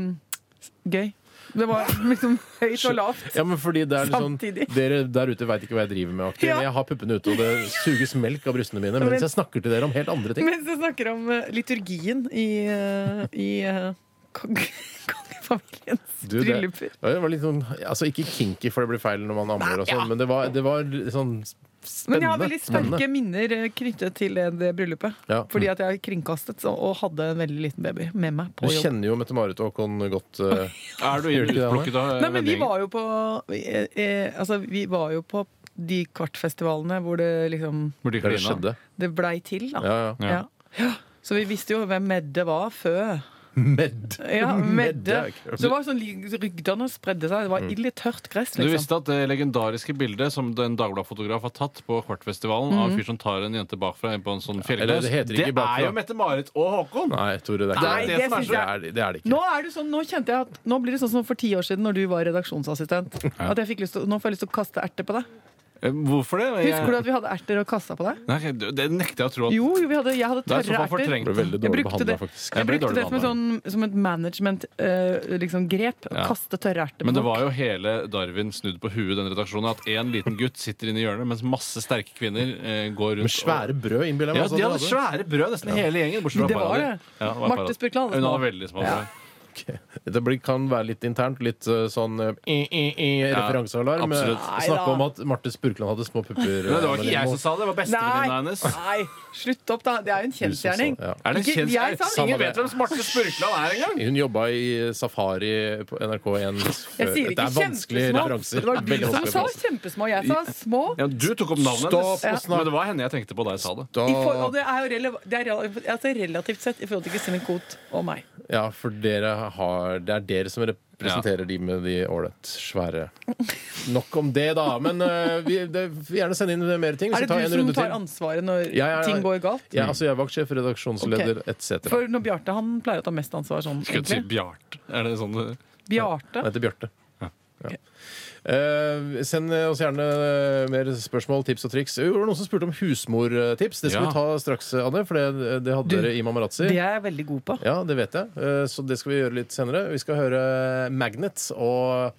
[SPEAKER 5] gøy. Det var liksom høyt og lavt.
[SPEAKER 3] Ja, men fordi det er litt sånn,
[SPEAKER 5] Samtidig.
[SPEAKER 3] Dere der ute veit ikke hva jeg driver med. aktig.
[SPEAKER 5] Ja.
[SPEAKER 3] Jeg har puppene ute, og det suges melk av brystene mine mens jeg snakker til dere om helt andre ting.
[SPEAKER 5] Mens jeg snakker om eh, liturgien i, eh, i eh, kong, kongefamiliens
[SPEAKER 3] Du, det-
[SPEAKER 5] brylluper.
[SPEAKER 3] Ja, Det var litt sånn, altså Ikke kinky, for det blir feil når man ammer, og
[SPEAKER 5] Ja.
[SPEAKER 3] sånn, men det var, det var sånn spennende.
[SPEAKER 5] Men jeg har veldig
[SPEAKER 3] Spennende.
[SPEAKER 5] sterke minner eh, knyttet til det, det bryllupet.
[SPEAKER 3] Ja.
[SPEAKER 5] Fordi at jeg kringkastet så, og hadde en veldig liten baby med meg
[SPEAKER 3] Du
[SPEAKER 5] på jobb.
[SPEAKER 3] kjenner jo Mette-Marit og Håkon godt. eh,
[SPEAKER 4] Er du
[SPEAKER 3] Gjør ikke det, Anne?
[SPEAKER 4] utplukket av
[SPEAKER 5] Nei, men vi
[SPEAKER 4] vennegjengen?
[SPEAKER 5] var jo på eh, eh, Altså, vi var jo på de kvartfestivalene hvor det liksom
[SPEAKER 4] Hvor de
[SPEAKER 3] der det
[SPEAKER 4] klina?
[SPEAKER 3] skjedde.
[SPEAKER 5] Det blei til, da.
[SPEAKER 3] Ja, ja.
[SPEAKER 4] Ja.
[SPEAKER 5] Ja. Ja. Så vi visste jo hvem Medde var før.
[SPEAKER 3] Med.
[SPEAKER 5] Ja,
[SPEAKER 3] Medde
[SPEAKER 5] Medde.
[SPEAKER 3] er Mm. kult.
[SPEAKER 5] Så det var sånn li- Rygdene spredde seg. Det var ille tørt gress,
[SPEAKER 4] Du
[SPEAKER 5] liksom.
[SPEAKER 4] visste at det legendariske bildet som en Dagbladet-fotograf har tatt på Kvartfestivalen av
[SPEAKER 5] Mhm.
[SPEAKER 4] en fyr som tar en jente bakfra inn på en sånn
[SPEAKER 3] eller
[SPEAKER 4] fjellknaus,
[SPEAKER 3] det heter ikke bakfra.
[SPEAKER 4] er jo Mette-Marit og Håkon!
[SPEAKER 3] Nei, Tore, det er
[SPEAKER 4] Nei,
[SPEAKER 3] ikke
[SPEAKER 4] det
[SPEAKER 5] synes
[SPEAKER 3] det.
[SPEAKER 5] jeg-
[SPEAKER 3] Er, det er det
[SPEAKER 5] Nå
[SPEAKER 3] ikke.
[SPEAKER 5] er det sånn, nå kjente jeg at Nå blir det sånn som for ti år siden Når du var redaksjonsassistent. At jeg fikk lyst til, nå får jeg lyst til å kaste erter på deg.
[SPEAKER 4] Eh, Hvorfor det?
[SPEAKER 5] Husker du at vi hadde erter og kassa på deg?
[SPEAKER 4] Nei, det nekter jeg å tro at
[SPEAKER 5] Jo, jo vi hadde, jeg hadde
[SPEAKER 4] Det er som
[SPEAKER 5] tørre
[SPEAKER 4] å få
[SPEAKER 5] erter.
[SPEAKER 4] fortrengt
[SPEAKER 3] Det ble veldig
[SPEAKER 5] Jeg
[SPEAKER 3] dårlig
[SPEAKER 5] brukte
[SPEAKER 3] behandla,
[SPEAKER 5] det.
[SPEAKER 3] faktisk.
[SPEAKER 5] Jeg
[SPEAKER 4] Jeg ble
[SPEAKER 5] brukte det
[SPEAKER 4] dårlig
[SPEAKER 5] som, en sånn, som et management-grep. liksom grep, å
[SPEAKER 4] Ja.
[SPEAKER 5] Kaste tørre erter. på
[SPEAKER 4] Men det var
[SPEAKER 5] folk.
[SPEAKER 4] jo hele Darwin snudd på huet, den redaksjonen. At én liten gutt sitter inne i hjørnet, mens masse sterke kvinner eh, går rundt.
[SPEAKER 3] Med svære brød, innbiller
[SPEAKER 4] og...
[SPEAKER 3] jeg
[SPEAKER 4] ja, altså,
[SPEAKER 3] meg. sånn
[SPEAKER 4] de
[SPEAKER 3] det
[SPEAKER 4] hadde
[SPEAKER 3] hadde.
[SPEAKER 4] svære brød, nesten hele gjengen. Bortsett fra
[SPEAKER 5] Det var
[SPEAKER 4] Paradis.
[SPEAKER 5] det.
[SPEAKER 4] Ja, det altså. var
[SPEAKER 5] Marte
[SPEAKER 4] Paradis.
[SPEAKER 5] Spurkeland hadde
[SPEAKER 4] Hun
[SPEAKER 5] små.
[SPEAKER 4] hadde veldig små
[SPEAKER 5] Ja.
[SPEAKER 4] brød.
[SPEAKER 3] Det blir, kan være litt internt. Litt eh, sånn eh, i- i- i-
[SPEAKER 4] Ja,
[SPEAKER 3] referansealarm.
[SPEAKER 4] absolutt.
[SPEAKER 3] Eh, Snakke
[SPEAKER 5] Neida.
[SPEAKER 3] om at Marte Spurkland hadde små pupper. eh,
[SPEAKER 4] Men det var
[SPEAKER 3] men
[SPEAKER 4] ikke jeg som
[SPEAKER 3] må-
[SPEAKER 4] sa det, det var bestevenninna
[SPEAKER 5] Nei,
[SPEAKER 4] hennes.
[SPEAKER 5] nei, slutt opp, da. Det er jo en
[SPEAKER 3] Du som sa-
[SPEAKER 5] kjensgjerning.
[SPEAKER 3] ja.
[SPEAKER 4] Er det
[SPEAKER 5] Ikke-
[SPEAKER 4] kjent?
[SPEAKER 5] jeg sa det.
[SPEAKER 4] Ingen vet hvem Marte Spurkland er engang!
[SPEAKER 3] Hun jobba i Safari på NRK1.
[SPEAKER 5] Jeg sier
[SPEAKER 3] Det
[SPEAKER 5] ikke
[SPEAKER 3] er vanskelige
[SPEAKER 5] kjempesmå.
[SPEAKER 3] referanser.
[SPEAKER 5] Det var du
[SPEAKER 3] Veldig
[SPEAKER 5] som
[SPEAKER 3] vanskelige
[SPEAKER 5] sa
[SPEAKER 3] referanser.
[SPEAKER 5] kjempesmå. Jeg sa små.
[SPEAKER 4] Ja, du tok opp navnet
[SPEAKER 3] Stopp og
[SPEAKER 4] hennes.
[SPEAKER 3] snakk.
[SPEAKER 4] Men det var henne jeg tenkte på da jeg sa det.
[SPEAKER 5] I for, og
[SPEAKER 3] Da,
[SPEAKER 5] det er jo rele, det er, rela- altså relativt sett i forhold til Kristine Koht og meg.
[SPEAKER 3] ja, for dere har Det er dere som representerer de med de ålreit svære Nok om det, da. Men eh, vi det, vi gjerne sende inn mer ting.
[SPEAKER 5] Er
[SPEAKER 3] Så ta
[SPEAKER 5] det
[SPEAKER 3] en
[SPEAKER 5] du som
[SPEAKER 3] runde
[SPEAKER 5] tar
[SPEAKER 3] til.
[SPEAKER 5] ansvaret når
[SPEAKER 3] Ja, ja, ja.
[SPEAKER 5] ting går galt?
[SPEAKER 3] Ja, altså, jeg er vaktsjef, redaksjonsleder
[SPEAKER 5] Ok.
[SPEAKER 3] etc.
[SPEAKER 5] For når Bjarte han pleier å ta mest ansvar sånn.
[SPEAKER 4] Skulle si
[SPEAKER 5] egentlig.
[SPEAKER 4] Bjarte. Er det sånn eh,
[SPEAKER 5] Bjarte.
[SPEAKER 3] Han heter Bjarte.
[SPEAKER 4] Ja.
[SPEAKER 3] Ja. Eh, send oss gjerne eh, mer spørsmål, tips og triks. Jo, Det var noen som spurte om husmortips. Det skal
[SPEAKER 4] Ja.
[SPEAKER 3] vi ta straks, Anne, for det, det hadde
[SPEAKER 5] Du,
[SPEAKER 3] dere i Mamarazzi.
[SPEAKER 5] Det er jeg veldig god på.
[SPEAKER 3] Ja, det vet jeg. Eh, Så det skal vi gjøre litt senere. Vi skal høre Magnet og eh,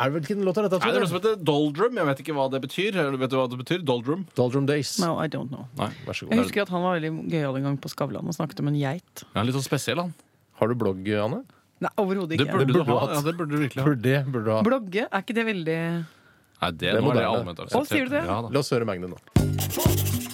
[SPEAKER 3] er det Hvilken låt er dette?
[SPEAKER 4] Nei, det er noe som
[SPEAKER 3] Tore?
[SPEAKER 4] heter doldrum. Jeg vet ikke hva det betyr. Eller Vet du hva det betyr? Doldrum?
[SPEAKER 3] Doldrum Days.
[SPEAKER 5] No, I don't know.
[SPEAKER 4] Nei.
[SPEAKER 3] Vær så
[SPEAKER 5] Jeg
[SPEAKER 3] god.
[SPEAKER 5] husker at han var veldig gøyal en gang på Skavlan og snakket om en geit.
[SPEAKER 4] Ja, litt sånn spesiell, han.
[SPEAKER 3] Har du blogg, Anne?
[SPEAKER 5] Nei, overhodet
[SPEAKER 4] Det
[SPEAKER 5] ikke.
[SPEAKER 4] burde,
[SPEAKER 3] Det burde
[SPEAKER 4] du ha.
[SPEAKER 3] du hatt.
[SPEAKER 4] Ja, det burde du virkelig ha.
[SPEAKER 3] Burde det burde du ha.
[SPEAKER 5] Blogge, er ikke det veldig
[SPEAKER 4] Nei, det,
[SPEAKER 3] er
[SPEAKER 4] nå er det
[SPEAKER 3] moderne.
[SPEAKER 4] allment
[SPEAKER 5] Å, sier du det?
[SPEAKER 4] Ja, da.
[SPEAKER 3] La oss høre Magnet nå.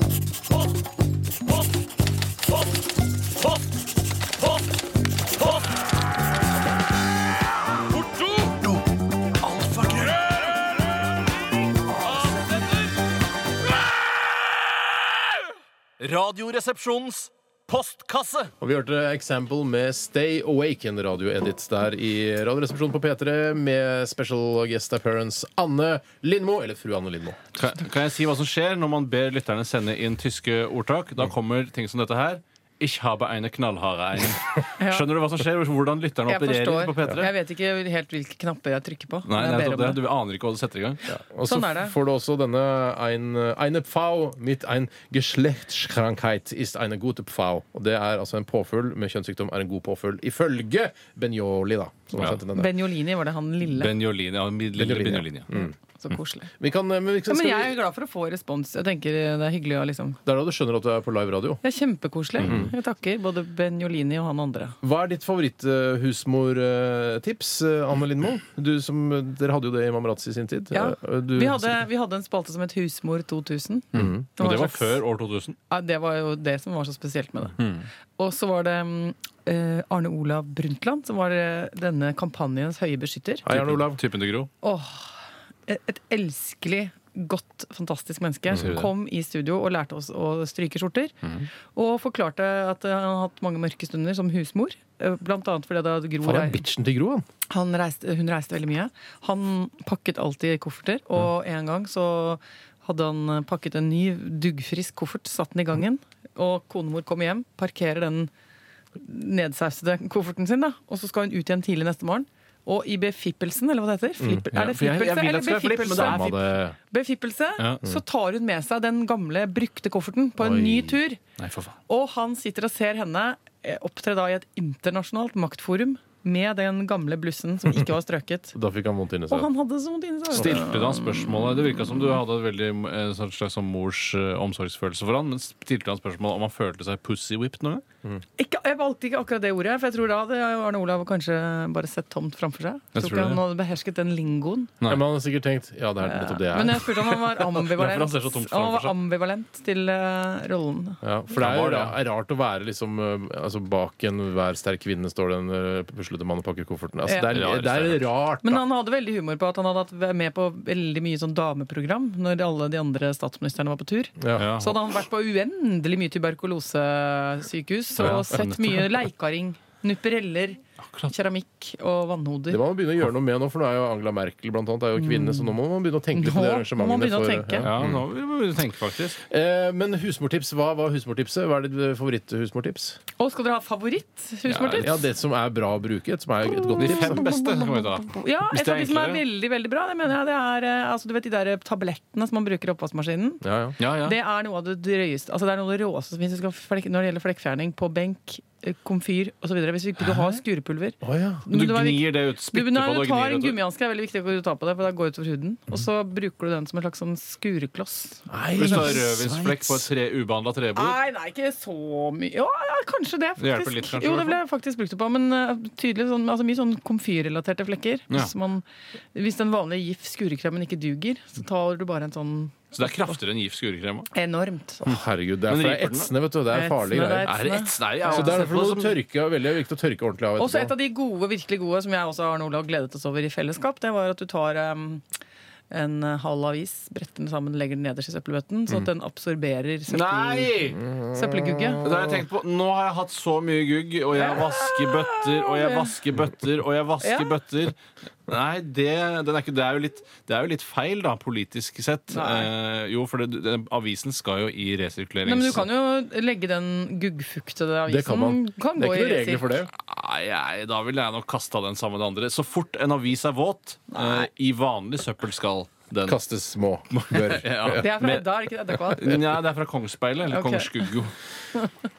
[SPEAKER 1] Radioresepsjonens postkasse.
[SPEAKER 3] Og vi hørte Example med Stay Awake, en radioedit der i Radioresepsjonen på P3 med special guest appearance Anne Lindmo, eller fru Anne Lindmo.
[SPEAKER 4] Mm. Kan, kan jeg si hva som skjer når man ber lytterne sende inn tyske ordtak? Da kommer ting som dette her. Ich habe eine knallharde ein.
[SPEAKER 5] Ja.
[SPEAKER 4] Skjønner du hva som skjer? Hvordan lytterne
[SPEAKER 5] Jeg
[SPEAKER 4] opererer
[SPEAKER 5] forstår.
[SPEAKER 4] på P3?
[SPEAKER 5] Jeg vet ikke helt hvilke knapper jeg trykker på.
[SPEAKER 4] Nei,
[SPEAKER 5] når jeg ber
[SPEAKER 4] nettopp
[SPEAKER 5] om
[SPEAKER 4] det.
[SPEAKER 5] det.
[SPEAKER 4] Du aner ikke hva du setter i gang.
[SPEAKER 3] Og så
[SPEAKER 5] Sånn er det.
[SPEAKER 3] får du også denne ein, Eine Pfau mit ein Geschlechtskrankheit ist eine gute Pfau. Og det er altså en påfugl med kjønnssykdom er en god påfugl, ifølge Benjoli, da. Som har
[SPEAKER 4] Ja.
[SPEAKER 3] sendt inn denne.
[SPEAKER 5] Benjolini var det han lille.
[SPEAKER 4] Benjolini. Ja, mi- lille
[SPEAKER 3] Benjolini, ja.
[SPEAKER 4] Benjolini.
[SPEAKER 5] Så koselig.
[SPEAKER 3] Vi kan, eh, men vi
[SPEAKER 5] Ja,
[SPEAKER 3] skal,
[SPEAKER 5] men
[SPEAKER 3] skal
[SPEAKER 5] jeg er
[SPEAKER 3] vi,
[SPEAKER 5] glad for å få respons. Jeg tenker Det er hyggelig å liksom
[SPEAKER 3] det er da du skjønner at du er på live radio.
[SPEAKER 5] Det er kjempekoselig.
[SPEAKER 4] Mhm.
[SPEAKER 5] Jeg takker både Benjolini og han andre.
[SPEAKER 3] Hva er ditt favoritthusmortips, eh, Anne Lindmo? Du som, dere hadde jo det i Mamarazzi i sin tid.
[SPEAKER 5] Ja.
[SPEAKER 3] Eh, Du,
[SPEAKER 5] Vi hadde, vi hadde en spalte som het Husmor 2000.
[SPEAKER 4] Men
[SPEAKER 5] en
[SPEAKER 4] Mhm. det var
[SPEAKER 5] slags-
[SPEAKER 4] før Mhm. år 2000.
[SPEAKER 5] Ja, det var jo det som var så spesielt med det. Og så var det mm, eh, Arne Olav Brundtland, som var eh, denne kampanjens høye beskytter.
[SPEAKER 3] Hei, Arne Olav.
[SPEAKER 4] Typen til Gro.
[SPEAKER 5] Åh, et, et elskelig, godt, fantastisk menneske
[SPEAKER 4] Mm. sier
[SPEAKER 5] som
[SPEAKER 4] det. Mm.
[SPEAKER 5] kom i studio og lærte oss å stryke skjorter. Og forklarte at eh, han har hatt mange mørke stunder som husmor. eh, Blant annet fordi da Gro
[SPEAKER 3] Faen, det
[SPEAKER 5] rei-
[SPEAKER 3] er bitchen til Gro, han.
[SPEAKER 5] han reiste, hun reiste veldig mye. Han pakket alltid kofferter,
[SPEAKER 4] Mm.
[SPEAKER 5] og en gang så hadde han pakket en ny duggfrisk koffert, satt den i gangen, og konemor kommer hjem, parkerer den nedsausede kofferten sin, da, og så skal hun ut igjen tidlig neste morgen. Og i befippelsen, eller hva det heter? Flipp, Er det
[SPEAKER 4] Mm. for jeg- jeg
[SPEAKER 5] flippelse
[SPEAKER 4] vil at det skal
[SPEAKER 5] eller
[SPEAKER 4] være flipp, men
[SPEAKER 5] befippelse?
[SPEAKER 4] det er
[SPEAKER 3] Samme det.
[SPEAKER 5] Befippelse,
[SPEAKER 4] Ja.
[SPEAKER 5] så tar hun med seg den gamle, brukte kofferten på en
[SPEAKER 3] Oi.
[SPEAKER 5] ny tur.
[SPEAKER 4] Nei, for faen.
[SPEAKER 5] Og han sitter og ser henne eh, opptre da i et internasjonalt maktforum med den gamle blussen som ikke var strøket.
[SPEAKER 3] Da fikk han vondt inni
[SPEAKER 5] Og
[SPEAKER 3] seg.
[SPEAKER 5] han hadde så vondt inni seg.
[SPEAKER 4] Stilte du han spørsmålet? Det virka som du hadde et veldig eh, sånn slags sånn mors eh, omsorgsfølelse for han, men stilte han spørsmål om han følte seg pussywhipped noen gang?
[SPEAKER 5] Ikke, jeg valgte ikke akkurat det ordet, for jeg tror da hadde Arne Olav kanskje bare sett tomt framfor seg. Jeg tror
[SPEAKER 4] tror
[SPEAKER 5] ikke
[SPEAKER 4] det.
[SPEAKER 5] han hadde behersket den lingoen.
[SPEAKER 3] Ja, men han har sikkert tenkt ja, det er nettopp det jeg
[SPEAKER 5] Men
[SPEAKER 3] er.
[SPEAKER 5] jeg spurte om han var
[SPEAKER 4] Derfor han
[SPEAKER 5] ambivalent,
[SPEAKER 4] ser så tomt
[SPEAKER 5] han
[SPEAKER 4] framfor
[SPEAKER 5] var
[SPEAKER 4] seg.
[SPEAKER 5] ambivalent til eh, rollen.
[SPEAKER 3] Ja, for det er jo
[SPEAKER 4] Ja,
[SPEAKER 3] ra- er rart å være liksom eh, altså Bak enhver sterk kvinne står det en eh, puslete mann og pakker kofferten. Altså, det,
[SPEAKER 4] Ja.
[SPEAKER 3] er, det er rart.
[SPEAKER 5] Men
[SPEAKER 3] Da.
[SPEAKER 5] han hadde veldig humor på at han hadde hatt- vært med på veldig mye sånn dameprogram når alle de andre statsministrene var på tur.
[SPEAKER 3] Ja.
[SPEAKER 4] Ja. Sånn.
[SPEAKER 5] Så hadde han vært på uendelig mye tuberkulosesykehus og
[SPEAKER 4] Ja,
[SPEAKER 5] sett mye leikaring, nuppereller, keramikk og
[SPEAKER 3] Det
[SPEAKER 5] vannhoder.
[SPEAKER 3] må man begynne å gjøre noe med nå, for nå er jo Angela Merkel blant annet, er jo kvinne, så nå må man begynne å tenke litt på de
[SPEAKER 5] Nå må man
[SPEAKER 3] arrangementene.
[SPEAKER 5] begynne å
[SPEAKER 3] for-
[SPEAKER 5] tenke.
[SPEAKER 4] Ja, nå må vi tenke, faktisk.
[SPEAKER 3] Eh, Men husmortips, hva var husmortipset? Hva er ditt eh, favoritthusmortips?
[SPEAKER 5] Og skal dere ha favoritt-husmortips?
[SPEAKER 3] Ja, det som er bra å bruke, som er et godt
[SPEAKER 4] De
[SPEAKER 3] tips.
[SPEAKER 4] fem beste kan vi ta.
[SPEAKER 5] Ja,
[SPEAKER 4] Hvis
[SPEAKER 5] et
[SPEAKER 4] det er
[SPEAKER 5] av de som er
[SPEAKER 4] enklere.
[SPEAKER 5] veldig veldig bra, det mener jeg, det er eh, altså, du vet, de der tablettene som man bruker i oppvaskmaskinen.
[SPEAKER 3] Ja, ja.
[SPEAKER 4] Ja, ja.
[SPEAKER 5] Det er noe av det drøyeste altså, Det er noe av det råeste som finnes. Du skal flek- når det gjelder flekkfjerning på benk, eh, komfyr osv. Hvis ikke du har skurepulver.
[SPEAKER 3] Å, ja.
[SPEAKER 4] Du
[SPEAKER 5] Men det var viktig-
[SPEAKER 4] gnir det ut.
[SPEAKER 5] Du,
[SPEAKER 4] Spytter
[SPEAKER 5] nei,
[SPEAKER 4] på det
[SPEAKER 5] du
[SPEAKER 4] og
[SPEAKER 5] tar
[SPEAKER 4] gnir
[SPEAKER 5] en
[SPEAKER 4] det ut.
[SPEAKER 5] gummihanske. Det er veldig viktig at du tar på det, for det går utover huden. Og så bruker du den som en slags sånn skurekloss.
[SPEAKER 3] Nei,
[SPEAKER 4] Hvis du har rødvinsflekk på et tre, ubehandla trebord
[SPEAKER 5] Nei, nei, ikke så mye. Ja, ja, kanskje det.
[SPEAKER 4] Det hjelper
[SPEAKER 5] faktisk.
[SPEAKER 4] litt, kanskje,
[SPEAKER 5] jo,
[SPEAKER 4] i
[SPEAKER 5] det
[SPEAKER 4] hvert
[SPEAKER 5] ble jeg faktisk brukt opp på. Men eh, tydelig sånn, altså, mye sånn komfyrrelaterte flekker.
[SPEAKER 4] Ja.
[SPEAKER 5] Hvis, man, hvis den vanlige GIF skurekremen ikke duger, så tar du bare en sånn
[SPEAKER 4] Så det er kraftigere enn gift skurekrem. også.
[SPEAKER 5] enormt.
[SPEAKER 3] Å, Herregud, det er,
[SPEAKER 4] Men
[SPEAKER 3] for det er
[SPEAKER 4] riper den, da?
[SPEAKER 3] etsende, vet du. Det er farlige
[SPEAKER 5] Etsende, det er
[SPEAKER 3] greier.
[SPEAKER 4] Er det et Nei, ja.
[SPEAKER 3] Så det er derfor må
[SPEAKER 4] Som-
[SPEAKER 3] du tørke, og veldig viktig å tørke ordentlig av
[SPEAKER 5] Også et
[SPEAKER 3] etterpå.
[SPEAKER 5] av de gode, virkelig gode, som jeg også Arne Olav gledet oss over i fellesskap, det var at du tar em, en halv avis, bretter den sammen, legger den nederst i søppelbøtten,
[SPEAKER 3] Mm.
[SPEAKER 5] sånn at den absorberer søppel,
[SPEAKER 4] Nei!
[SPEAKER 5] søppelgugge.
[SPEAKER 4] Det har jeg tenkt på. Nå har jeg hatt så mye gugg, og jeg vasker bøtter, og jeg vasker bøtter, og jeg vasker
[SPEAKER 5] Ja.
[SPEAKER 4] bøtter. Nei, det, den er ikke, det, er jo litt, det er jo litt feil, da, politisk sett. Eh, jo, for det, det, avisen skal jo i resirkulerings...
[SPEAKER 5] Nei, men du kan jo legge den guggfuktede avisen.
[SPEAKER 3] Det kan man.
[SPEAKER 5] Kan
[SPEAKER 3] Det
[SPEAKER 5] gå
[SPEAKER 3] er
[SPEAKER 5] i
[SPEAKER 3] ikke noen regler
[SPEAKER 5] resirk.
[SPEAKER 3] for det.
[SPEAKER 4] Nei, jeg- da ville jeg nok kasta den sammen med det andre. Så fort en avis er våt, eh, i vanlig søppel skal den
[SPEAKER 3] Kastes små. Bør.
[SPEAKER 4] Mm. Ja.
[SPEAKER 5] Det er fra
[SPEAKER 4] Men-
[SPEAKER 5] Edda, er det ikke det? Edda Kvad?
[SPEAKER 4] Nja, det er fra Kongsspeilet. Eller
[SPEAKER 5] Ok.
[SPEAKER 4] Kongsskuggo.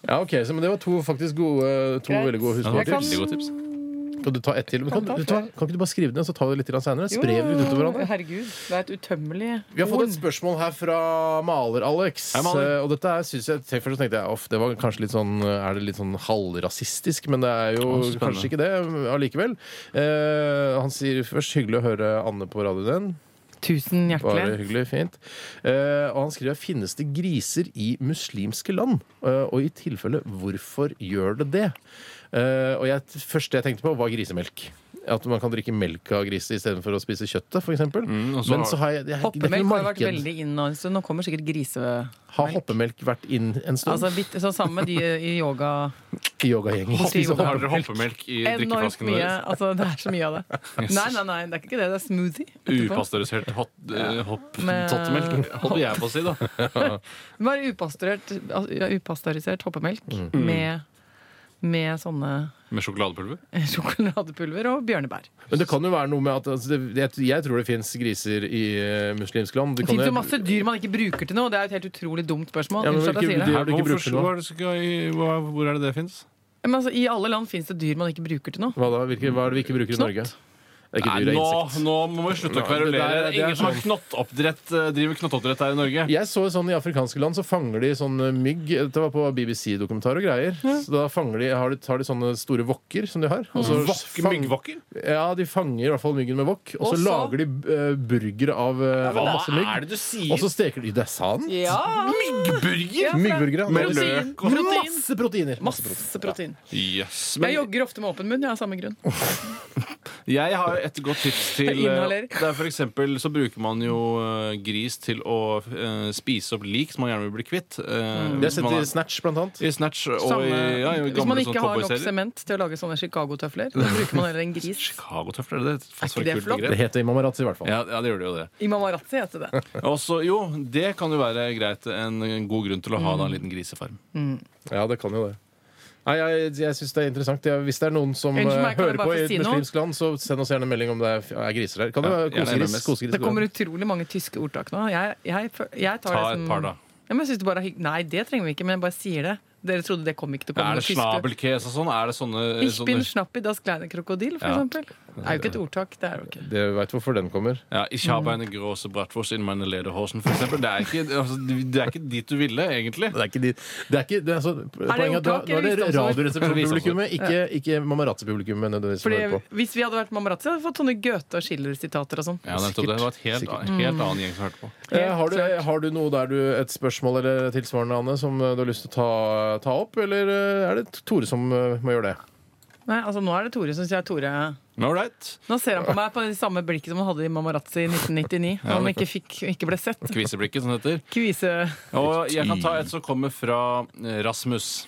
[SPEAKER 3] Ja, ok, så, men Det var to faktisk gode, eh, to
[SPEAKER 5] Greit.
[SPEAKER 3] veldig gode
[SPEAKER 4] Det var et veldig
[SPEAKER 3] husmortips.
[SPEAKER 4] godt tips.
[SPEAKER 3] Kan du ta ett til? Men kan,
[SPEAKER 5] Kan ta
[SPEAKER 3] du, ta,
[SPEAKER 5] flere.
[SPEAKER 3] kan ikke du bare skrive det ned, så tar vi det litt grann senere? Sprer vi det utover hverandre?
[SPEAKER 5] Herregud, det er et utømmelig
[SPEAKER 3] Vi har fått et spørsmål her fra Maler-Alex.
[SPEAKER 4] Hei, Maler.
[SPEAKER 3] Eh, Og dette er, synes jeg, til Først så tenkte jeg off, det var kanskje litt sånn Er det litt sånn halvrasistisk, men det er jo
[SPEAKER 4] Å, så spennende.
[SPEAKER 3] kanskje ikke det allikevel. Eh, han sier først 'hyggelig å høre Anne på radioen din'.
[SPEAKER 5] Tusen
[SPEAKER 3] Bare
[SPEAKER 5] hjertelig.
[SPEAKER 3] hyggelig, fint. Eh, og han skriver finnes det griser i muslimske land, Eh, og i tilfelle hvorfor gjør det det? Eh, og jeg, først det jeg tenkte på, var grisemelk. At man kan drikke melk av gris istedenfor å spise kjøttet, f.eks. eksempel
[SPEAKER 4] Mm, og så
[SPEAKER 3] Men
[SPEAKER 4] har-
[SPEAKER 3] så har jeg, jeg, det er ikke
[SPEAKER 5] Hoppemelk
[SPEAKER 3] noe
[SPEAKER 5] har vært
[SPEAKER 3] marked.
[SPEAKER 5] veldig inn nå en stund. Nå kommer sikkert grise...
[SPEAKER 3] Har hoppemelk vært inn en stund
[SPEAKER 5] Altså, bitt- så sammen med de i yoga
[SPEAKER 3] i yogagjengen?
[SPEAKER 5] Hoppe-
[SPEAKER 3] Spise
[SPEAKER 4] Har dere
[SPEAKER 3] hoppemelk.
[SPEAKER 4] hoppemelk i
[SPEAKER 5] Enormt
[SPEAKER 4] drikkeflaskene
[SPEAKER 5] mye.
[SPEAKER 4] deres?
[SPEAKER 5] Altså, det er så mye av det. Nei, nei, nei, det er ikke det. Det er smoothie. etterpå.
[SPEAKER 4] Upasteurisert hot- eh, hopp-
[SPEAKER 5] Med-
[SPEAKER 4] tottemelk, holder jeg på å si, da.
[SPEAKER 5] Bare upasteurisert, ja, upasteurisert hoppemelk
[SPEAKER 3] Mm.
[SPEAKER 5] med, med sånne
[SPEAKER 4] Med sjokoladepulver.
[SPEAKER 5] sjokoladepulver og bjørnebær.
[SPEAKER 3] Men det kan jo være noe med at altså, det, jeg, jeg tror det fins griser i eh, muslimske land. Det
[SPEAKER 5] Det
[SPEAKER 3] kan
[SPEAKER 5] fins jo
[SPEAKER 3] jo-
[SPEAKER 5] masse dyr man ikke bruker til noe. Det er jo et helt utrolig dumt spørsmål.
[SPEAKER 3] Ja, men
[SPEAKER 5] Unnskyld at jeg
[SPEAKER 3] hvilke
[SPEAKER 5] sier det.
[SPEAKER 3] dyr- har du ikke brukt
[SPEAKER 4] Hvorfor-
[SPEAKER 3] det nå?
[SPEAKER 4] hvor er det skal- hva- Hvor er det det fins?
[SPEAKER 5] Men altså, I alle land fins det dyr man ikke bruker til noe.
[SPEAKER 3] Hva, da? Hvilke, hva er det vi ikke bruker i
[SPEAKER 5] Knott.
[SPEAKER 3] Norge? Det er ikke dyr, det
[SPEAKER 4] Nå,
[SPEAKER 3] er insekt.
[SPEAKER 4] nå må vi slutte å
[SPEAKER 3] Nei, det der-
[SPEAKER 4] kverulere.
[SPEAKER 3] det er
[SPEAKER 4] Ingen som har
[SPEAKER 3] sånn.
[SPEAKER 4] knottoppdrett, eh, driver knottoppdrett her i Norge.
[SPEAKER 3] Jeg så sånn I afrikanske land så fanger de sånne mygg. Dette var på BBC-dokumentar og greier. Så da fanger de, har de, tar de sånne store vokker som de har. og
[SPEAKER 5] Mm.
[SPEAKER 3] så
[SPEAKER 4] Vokk-
[SPEAKER 3] fang-
[SPEAKER 4] Myggvokker?
[SPEAKER 3] Ja, de fanger i hvert fall myggen med wok. Og så
[SPEAKER 5] Og så-
[SPEAKER 3] lager de uh, burger av eh,
[SPEAKER 4] Hva
[SPEAKER 3] masse
[SPEAKER 4] er
[SPEAKER 3] mygg.
[SPEAKER 4] det du sier?
[SPEAKER 3] Og så steker de Det er sant!
[SPEAKER 4] Myggburger?
[SPEAKER 3] Myggburgere.
[SPEAKER 4] Med
[SPEAKER 3] Masse
[SPEAKER 4] løk
[SPEAKER 5] og protein.
[SPEAKER 3] Masse proteiner. Masse protein.
[SPEAKER 5] Masse protein.
[SPEAKER 4] Yes.
[SPEAKER 5] Jeg
[SPEAKER 4] Men
[SPEAKER 5] jogger ofte med åpen munn, jeg, av samme grunn.
[SPEAKER 4] jeg har jo et godt tips til
[SPEAKER 5] Jeg inhalerer.
[SPEAKER 4] eh, Det er for eksempel så bruker man jo eh, gris til å eh, spise opp lik som man gjerne vil bli kvitt. eh,
[SPEAKER 3] Det
[SPEAKER 4] hvis
[SPEAKER 3] er sett
[SPEAKER 4] man
[SPEAKER 3] Mm. i Snatch, blant annet.
[SPEAKER 4] er- i Snatch og
[SPEAKER 5] Samme,
[SPEAKER 4] i, ja, i
[SPEAKER 5] hvis
[SPEAKER 4] gamle sånn
[SPEAKER 5] man ikke
[SPEAKER 3] sånn
[SPEAKER 4] sånne
[SPEAKER 5] har nok
[SPEAKER 4] cowboyserier.
[SPEAKER 5] sement til å lage sånne Chicago-tøfler, da bruker man heller en gris.
[SPEAKER 4] Chicago-tøfler, er det et fast
[SPEAKER 5] ikke det
[SPEAKER 4] kult
[SPEAKER 5] flott?
[SPEAKER 4] begrep?
[SPEAKER 3] Det heter Imamarazzi, i hvert fall.
[SPEAKER 4] Ja, ja, det gjør det jo det.
[SPEAKER 5] I Mamarazzi heter det.
[SPEAKER 4] Og så- jo, det kan jo være greit. En, en god grunn til å ha da,
[SPEAKER 5] Mm.
[SPEAKER 4] en liten grisefarm.
[SPEAKER 3] Ja, det kan jo det. Nei, Jeg, jeg syns det er interessant. Jeg, hvis det er noen som eh,
[SPEAKER 5] Unnskyld meg, kan jeg
[SPEAKER 3] hører
[SPEAKER 5] bare
[SPEAKER 3] på i
[SPEAKER 5] få
[SPEAKER 3] et
[SPEAKER 5] si noe?
[SPEAKER 3] muslimsk land, så send oss gjerne en melding om det er, er griser der. Kan det
[SPEAKER 4] Ja,
[SPEAKER 3] være
[SPEAKER 4] gjerne
[SPEAKER 3] kosegris?
[SPEAKER 4] MMS.
[SPEAKER 3] kosegris
[SPEAKER 5] Det kommer utrolig mange tyske ordtak nå. Jeg, jeg, jeg
[SPEAKER 4] Ta
[SPEAKER 5] tar det sånn som
[SPEAKER 4] et par, da.
[SPEAKER 5] Ja, men jeg synes det bare er hygg- Nei, det trenger vi ikke, men jeg bare sier det. Dere trodde det kom ikke til å komme
[SPEAKER 4] Er det
[SPEAKER 5] noe tyske-
[SPEAKER 4] snabelkes og sånn? Er det sånne,
[SPEAKER 5] Ich bin
[SPEAKER 4] sånne
[SPEAKER 5] schnappi das kleine krokodil, for
[SPEAKER 4] Ja.
[SPEAKER 5] eksempel. Det er jo ikke et ordtak. Det er jo ikke.
[SPEAKER 3] Det veit hvorfor den kommer.
[SPEAKER 4] ja, Ich habe eine große Bratwurst in meine Lederhosen, for eksempel. Det er, ikke, altså, det er ikke dit du ville, egentlig.
[SPEAKER 3] Det er ikke de, det er ikke, det er så, poenget er at da,
[SPEAKER 5] ordtak
[SPEAKER 3] da er det
[SPEAKER 5] eller visdomsord?
[SPEAKER 3] Radioresepsjon-publikummet, ikke, ikke Mamarazzi-publikummet nødvendigvis. som
[SPEAKER 5] Fordi
[SPEAKER 3] hører på.
[SPEAKER 5] Hvis vi hadde vært Mamarazzi, hadde vi fått sånne Goethe- og Schiller-sitater og sånn.
[SPEAKER 4] Ja, nettopp. Det var et helt,
[SPEAKER 3] Sikkert. Mm.
[SPEAKER 4] en helt annen gjeng som hørte på.
[SPEAKER 3] Eh, har, du, har du noe der du et spørsmål eller tilsvarende, Anne, som eh, du har lyst til å ta, ta opp? Eller eh, er det Tore som eh, må gjøre det?
[SPEAKER 5] Nei, altså Nå er det Tore som sier Tore
[SPEAKER 4] Men all right.
[SPEAKER 5] Nå ser han på meg på det samme blikket som han hadde i Mamarazzi i 1999. Da han ikke, fikk, ikke ble sett.
[SPEAKER 4] Kviseblikket, som det heter.
[SPEAKER 5] Kvise
[SPEAKER 4] Og jeg kan ta et som kommer fra eh, Rasmus.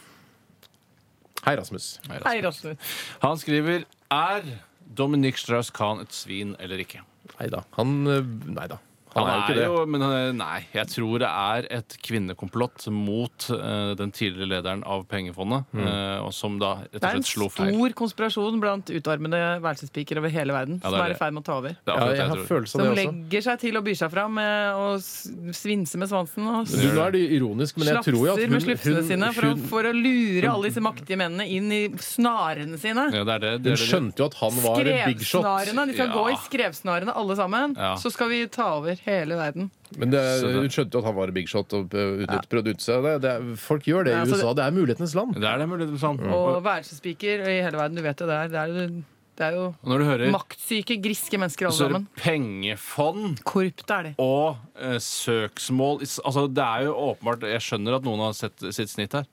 [SPEAKER 3] Hei, Rasmus.
[SPEAKER 4] Hei, Rasmus.
[SPEAKER 5] Hei, Rasmus.
[SPEAKER 4] Han skriver Er Dominique Strauss-Kahn et svin eller ikke?
[SPEAKER 3] Nei da. Han eh, Nei da. Han,
[SPEAKER 4] Han
[SPEAKER 3] er jo ikke
[SPEAKER 4] er
[SPEAKER 3] det.
[SPEAKER 4] jo, men eh, nei, jeg tror det er et kvinnekomplott mot eh, den tidligere lederen av pengefondet,
[SPEAKER 3] Mm.
[SPEAKER 4] eh, og som da rett
[SPEAKER 5] Det
[SPEAKER 4] og
[SPEAKER 5] er en
[SPEAKER 4] slett slo feil.
[SPEAKER 5] stor konspirasjon blant utarmede værelsesspiker over hele
[SPEAKER 4] Ja,
[SPEAKER 5] verden
[SPEAKER 4] det er
[SPEAKER 5] som er
[SPEAKER 4] det.
[SPEAKER 5] i ferd med å ta over.
[SPEAKER 4] Det er
[SPEAKER 3] Ja,
[SPEAKER 4] akkurat det
[SPEAKER 3] jeg
[SPEAKER 4] jeg
[SPEAKER 3] har
[SPEAKER 4] tror.
[SPEAKER 3] følelse av
[SPEAKER 5] Som
[SPEAKER 3] det også.
[SPEAKER 5] legger seg til og byr seg fram eh, og s- svinser med svansen. Og
[SPEAKER 3] Du, nå er det ironisk, men jeg
[SPEAKER 5] slapser
[SPEAKER 3] tror jo at hun,
[SPEAKER 5] med slipsene
[SPEAKER 3] hun,
[SPEAKER 5] sine for,
[SPEAKER 3] hun,
[SPEAKER 5] å, for å lure alle disse maktige mennene inn i snarene sine.
[SPEAKER 4] Ja, det er det, det, er det,
[SPEAKER 3] hun skjønte jo at han var big shot.
[SPEAKER 5] Skrevsnarene. De skal
[SPEAKER 4] Ja.
[SPEAKER 5] gå i skrevsnarene alle sammen.
[SPEAKER 4] Ja.
[SPEAKER 5] Så skal vi ta over hele verden.
[SPEAKER 3] Men det,
[SPEAKER 4] Så det-
[SPEAKER 3] hun skjønte jo at han var big shot og eh, utnytt- prøvde å utnytte seg. Det, det, folk gjør det
[SPEAKER 5] Ja,
[SPEAKER 3] i
[SPEAKER 5] altså det-
[SPEAKER 3] USA. Det er mulighetenes land.
[SPEAKER 4] det er det mulig. Sånn.
[SPEAKER 3] Mm.
[SPEAKER 5] Og
[SPEAKER 4] Og,
[SPEAKER 5] værelsesspiker i hele verden, du vet jo det er. Det er, jo- det er jo
[SPEAKER 4] og når du hører
[SPEAKER 5] maktsyke, griske mennesker alle
[SPEAKER 4] så er det
[SPEAKER 5] sammen.
[SPEAKER 4] pengefond
[SPEAKER 5] Korrupte er de.
[SPEAKER 4] og eh, søksmål i s- Altså, det er jo åpenbart Jeg skjønner at noen har sett sitt snitt her,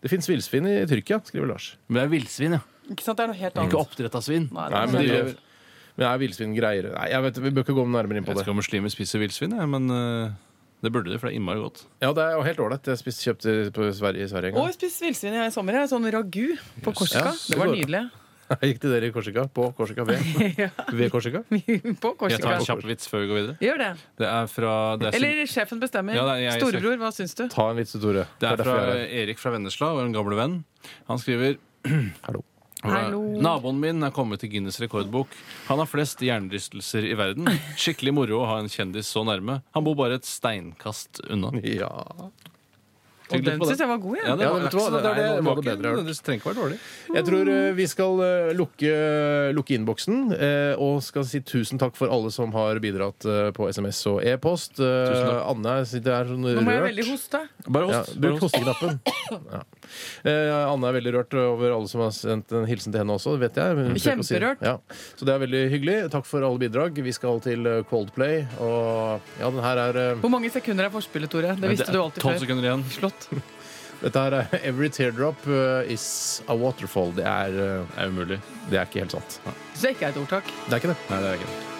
[SPEAKER 3] Det fins villsvin i Tyrkia, skriver Lars.
[SPEAKER 4] men det er villsvin, ja.
[SPEAKER 5] Ikke sant? Det er noe helt annet.
[SPEAKER 4] Ikke oppdrett av svin.
[SPEAKER 5] Nei,
[SPEAKER 3] Nei,
[SPEAKER 5] det er sånn-
[SPEAKER 3] men
[SPEAKER 5] sant.
[SPEAKER 3] de, men er villsvin greier? Nei, jeg vet, Vi bør ikke gå nærmere inn på
[SPEAKER 4] Jeg
[SPEAKER 3] det.
[SPEAKER 4] skal muslimer spiser villsvin, jeg, men eh, det burde de, for det er innmari godt.
[SPEAKER 3] Ja, Det er jo helt ålreit. Jeg spiste kjøpt i- på Sverige, i Sverige en
[SPEAKER 5] Og
[SPEAKER 3] gang.
[SPEAKER 5] jeg spiste villsvin i sommer. jeg. Sånn ragu på Korsika.
[SPEAKER 3] Ja,
[SPEAKER 5] det var
[SPEAKER 3] det går.
[SPEAKER 5] nydelig.
[SPEAKER 3] Jeg gikk til dere i Korsika. På Korsika ved. Ved Korsika.
[SPEAKER 5] på
[SPEAKER 4] Jeg tar
[SPEAKER 5] Korsika.
[SPEAKER 4] en kjapp vits før vi går videre.
[SPEAKER 5] Gjør det.
[SPEAKER 4] Det er fra det er,
[SPEAKER 5] Eller sjefen bestemmer.
[SPEAKER 4] Ja, det er jeg-
[SPEAKER 5] Storebror, hva syns du?
[SPEAKER 3] Ta en vits, Tore.
[SPEAKER 4] det er fra
[SPEAKER 3] derfor jeg er her.
[SPEAKER 4] Erik fra Vennesla, vår gamle venn. Han skriver
[SPEAKER 3] Hallo.
[SPEAKER 5] Hallo.
[SPEAKER 4] Naboen min er kommet til Guinness rekordbok. Han har flest hjernerystelser i verden. Skikkelig moro å ha en kjendis så nærme. Han bor bare et steinkast unna.
[SPEAKER 3] Ja.
[SPEAKER 5] Og
[SPEAKER 4] Tygg litt
[SPEAKER 5] den
[SPEAKER 4] på det.
[SPEAKER 5] syns jeg var god, jeg.
[SPEAKER 4] Ja, det
[SPEAKER 3] Ja,
[SPEAKER 4] var
[SPEAKER 3] vet du
[SPEAKER 4] ikke
[SPEAKER 3] hva,
[SPEAKER 4] så-
[SPEAKER 3] det er det-
[SPEAKER 4] nei,
[SPEAKER 3] det var
[SPEAKER 4] ikke-
[SPEAKER 3] det bedre jeg har hørt.
[SPEAKER 4] det trenger ikke være dårlig.
[SPEAKER 3] Jeg tror eh, vi skal eh, lukke, lukke innboksen eh, og skal si tusen takk for alle som har bidratt eh, på SMS og e-post. Eh,
[SPEAKER 4] takk.
[SPEAKER 3] Anne sitter her sånn
[SPEAKER 5] Nå må jeg veldig
[SPEAKER 3] rørt.
[SPEAKER 5] hoste.
[SPEAKER 4] Bare
[SPEAKER 3] Ja,
[SPEAKER 4] host. bare
[SPEAKER 3] bruk
[SPEAKER 4] host.
[SPEAKER 3] hosteknappen. Ja. Eh, Anne er veldig rørt over alle som har sendt en hilsen til henne også. Det vet jeg. Hun tør ikke å si det.
[SPEAKER 5] Kjemperørt.
[SPEAKER 3] Ja. Så det er veldig hyggelig. Takk for alle bidrag. Vi skal til eh, Coldplay, og ja, den her er eh,
[SPEAKER 5] Hvor mange sekunder er forspillet, Tore? Det
[SPEAKER 4] Det
[SPEAKER 5] visste du
[SPEAKER 4] er
[SPEAKER 5] alltid
[SPEAKER 4] Tolv
[SPEAKER 5] før.
[SPEAKER 4] sekunder igjen.
[SPEAKER 5] Slått.
[SPEAKER 3] Dette her er Every teardrop eh, is a waterfall. Det er, eh,
[SPEAKER 4] Det er umulig.
[SPEAKER 3] det er ikke helt sant.
[SPEAKER 6] Så det ikke er et ordtak.
[SPEAKER 3] Det er ikke det.
[SPEAKER 4] Nei, det er ikke det.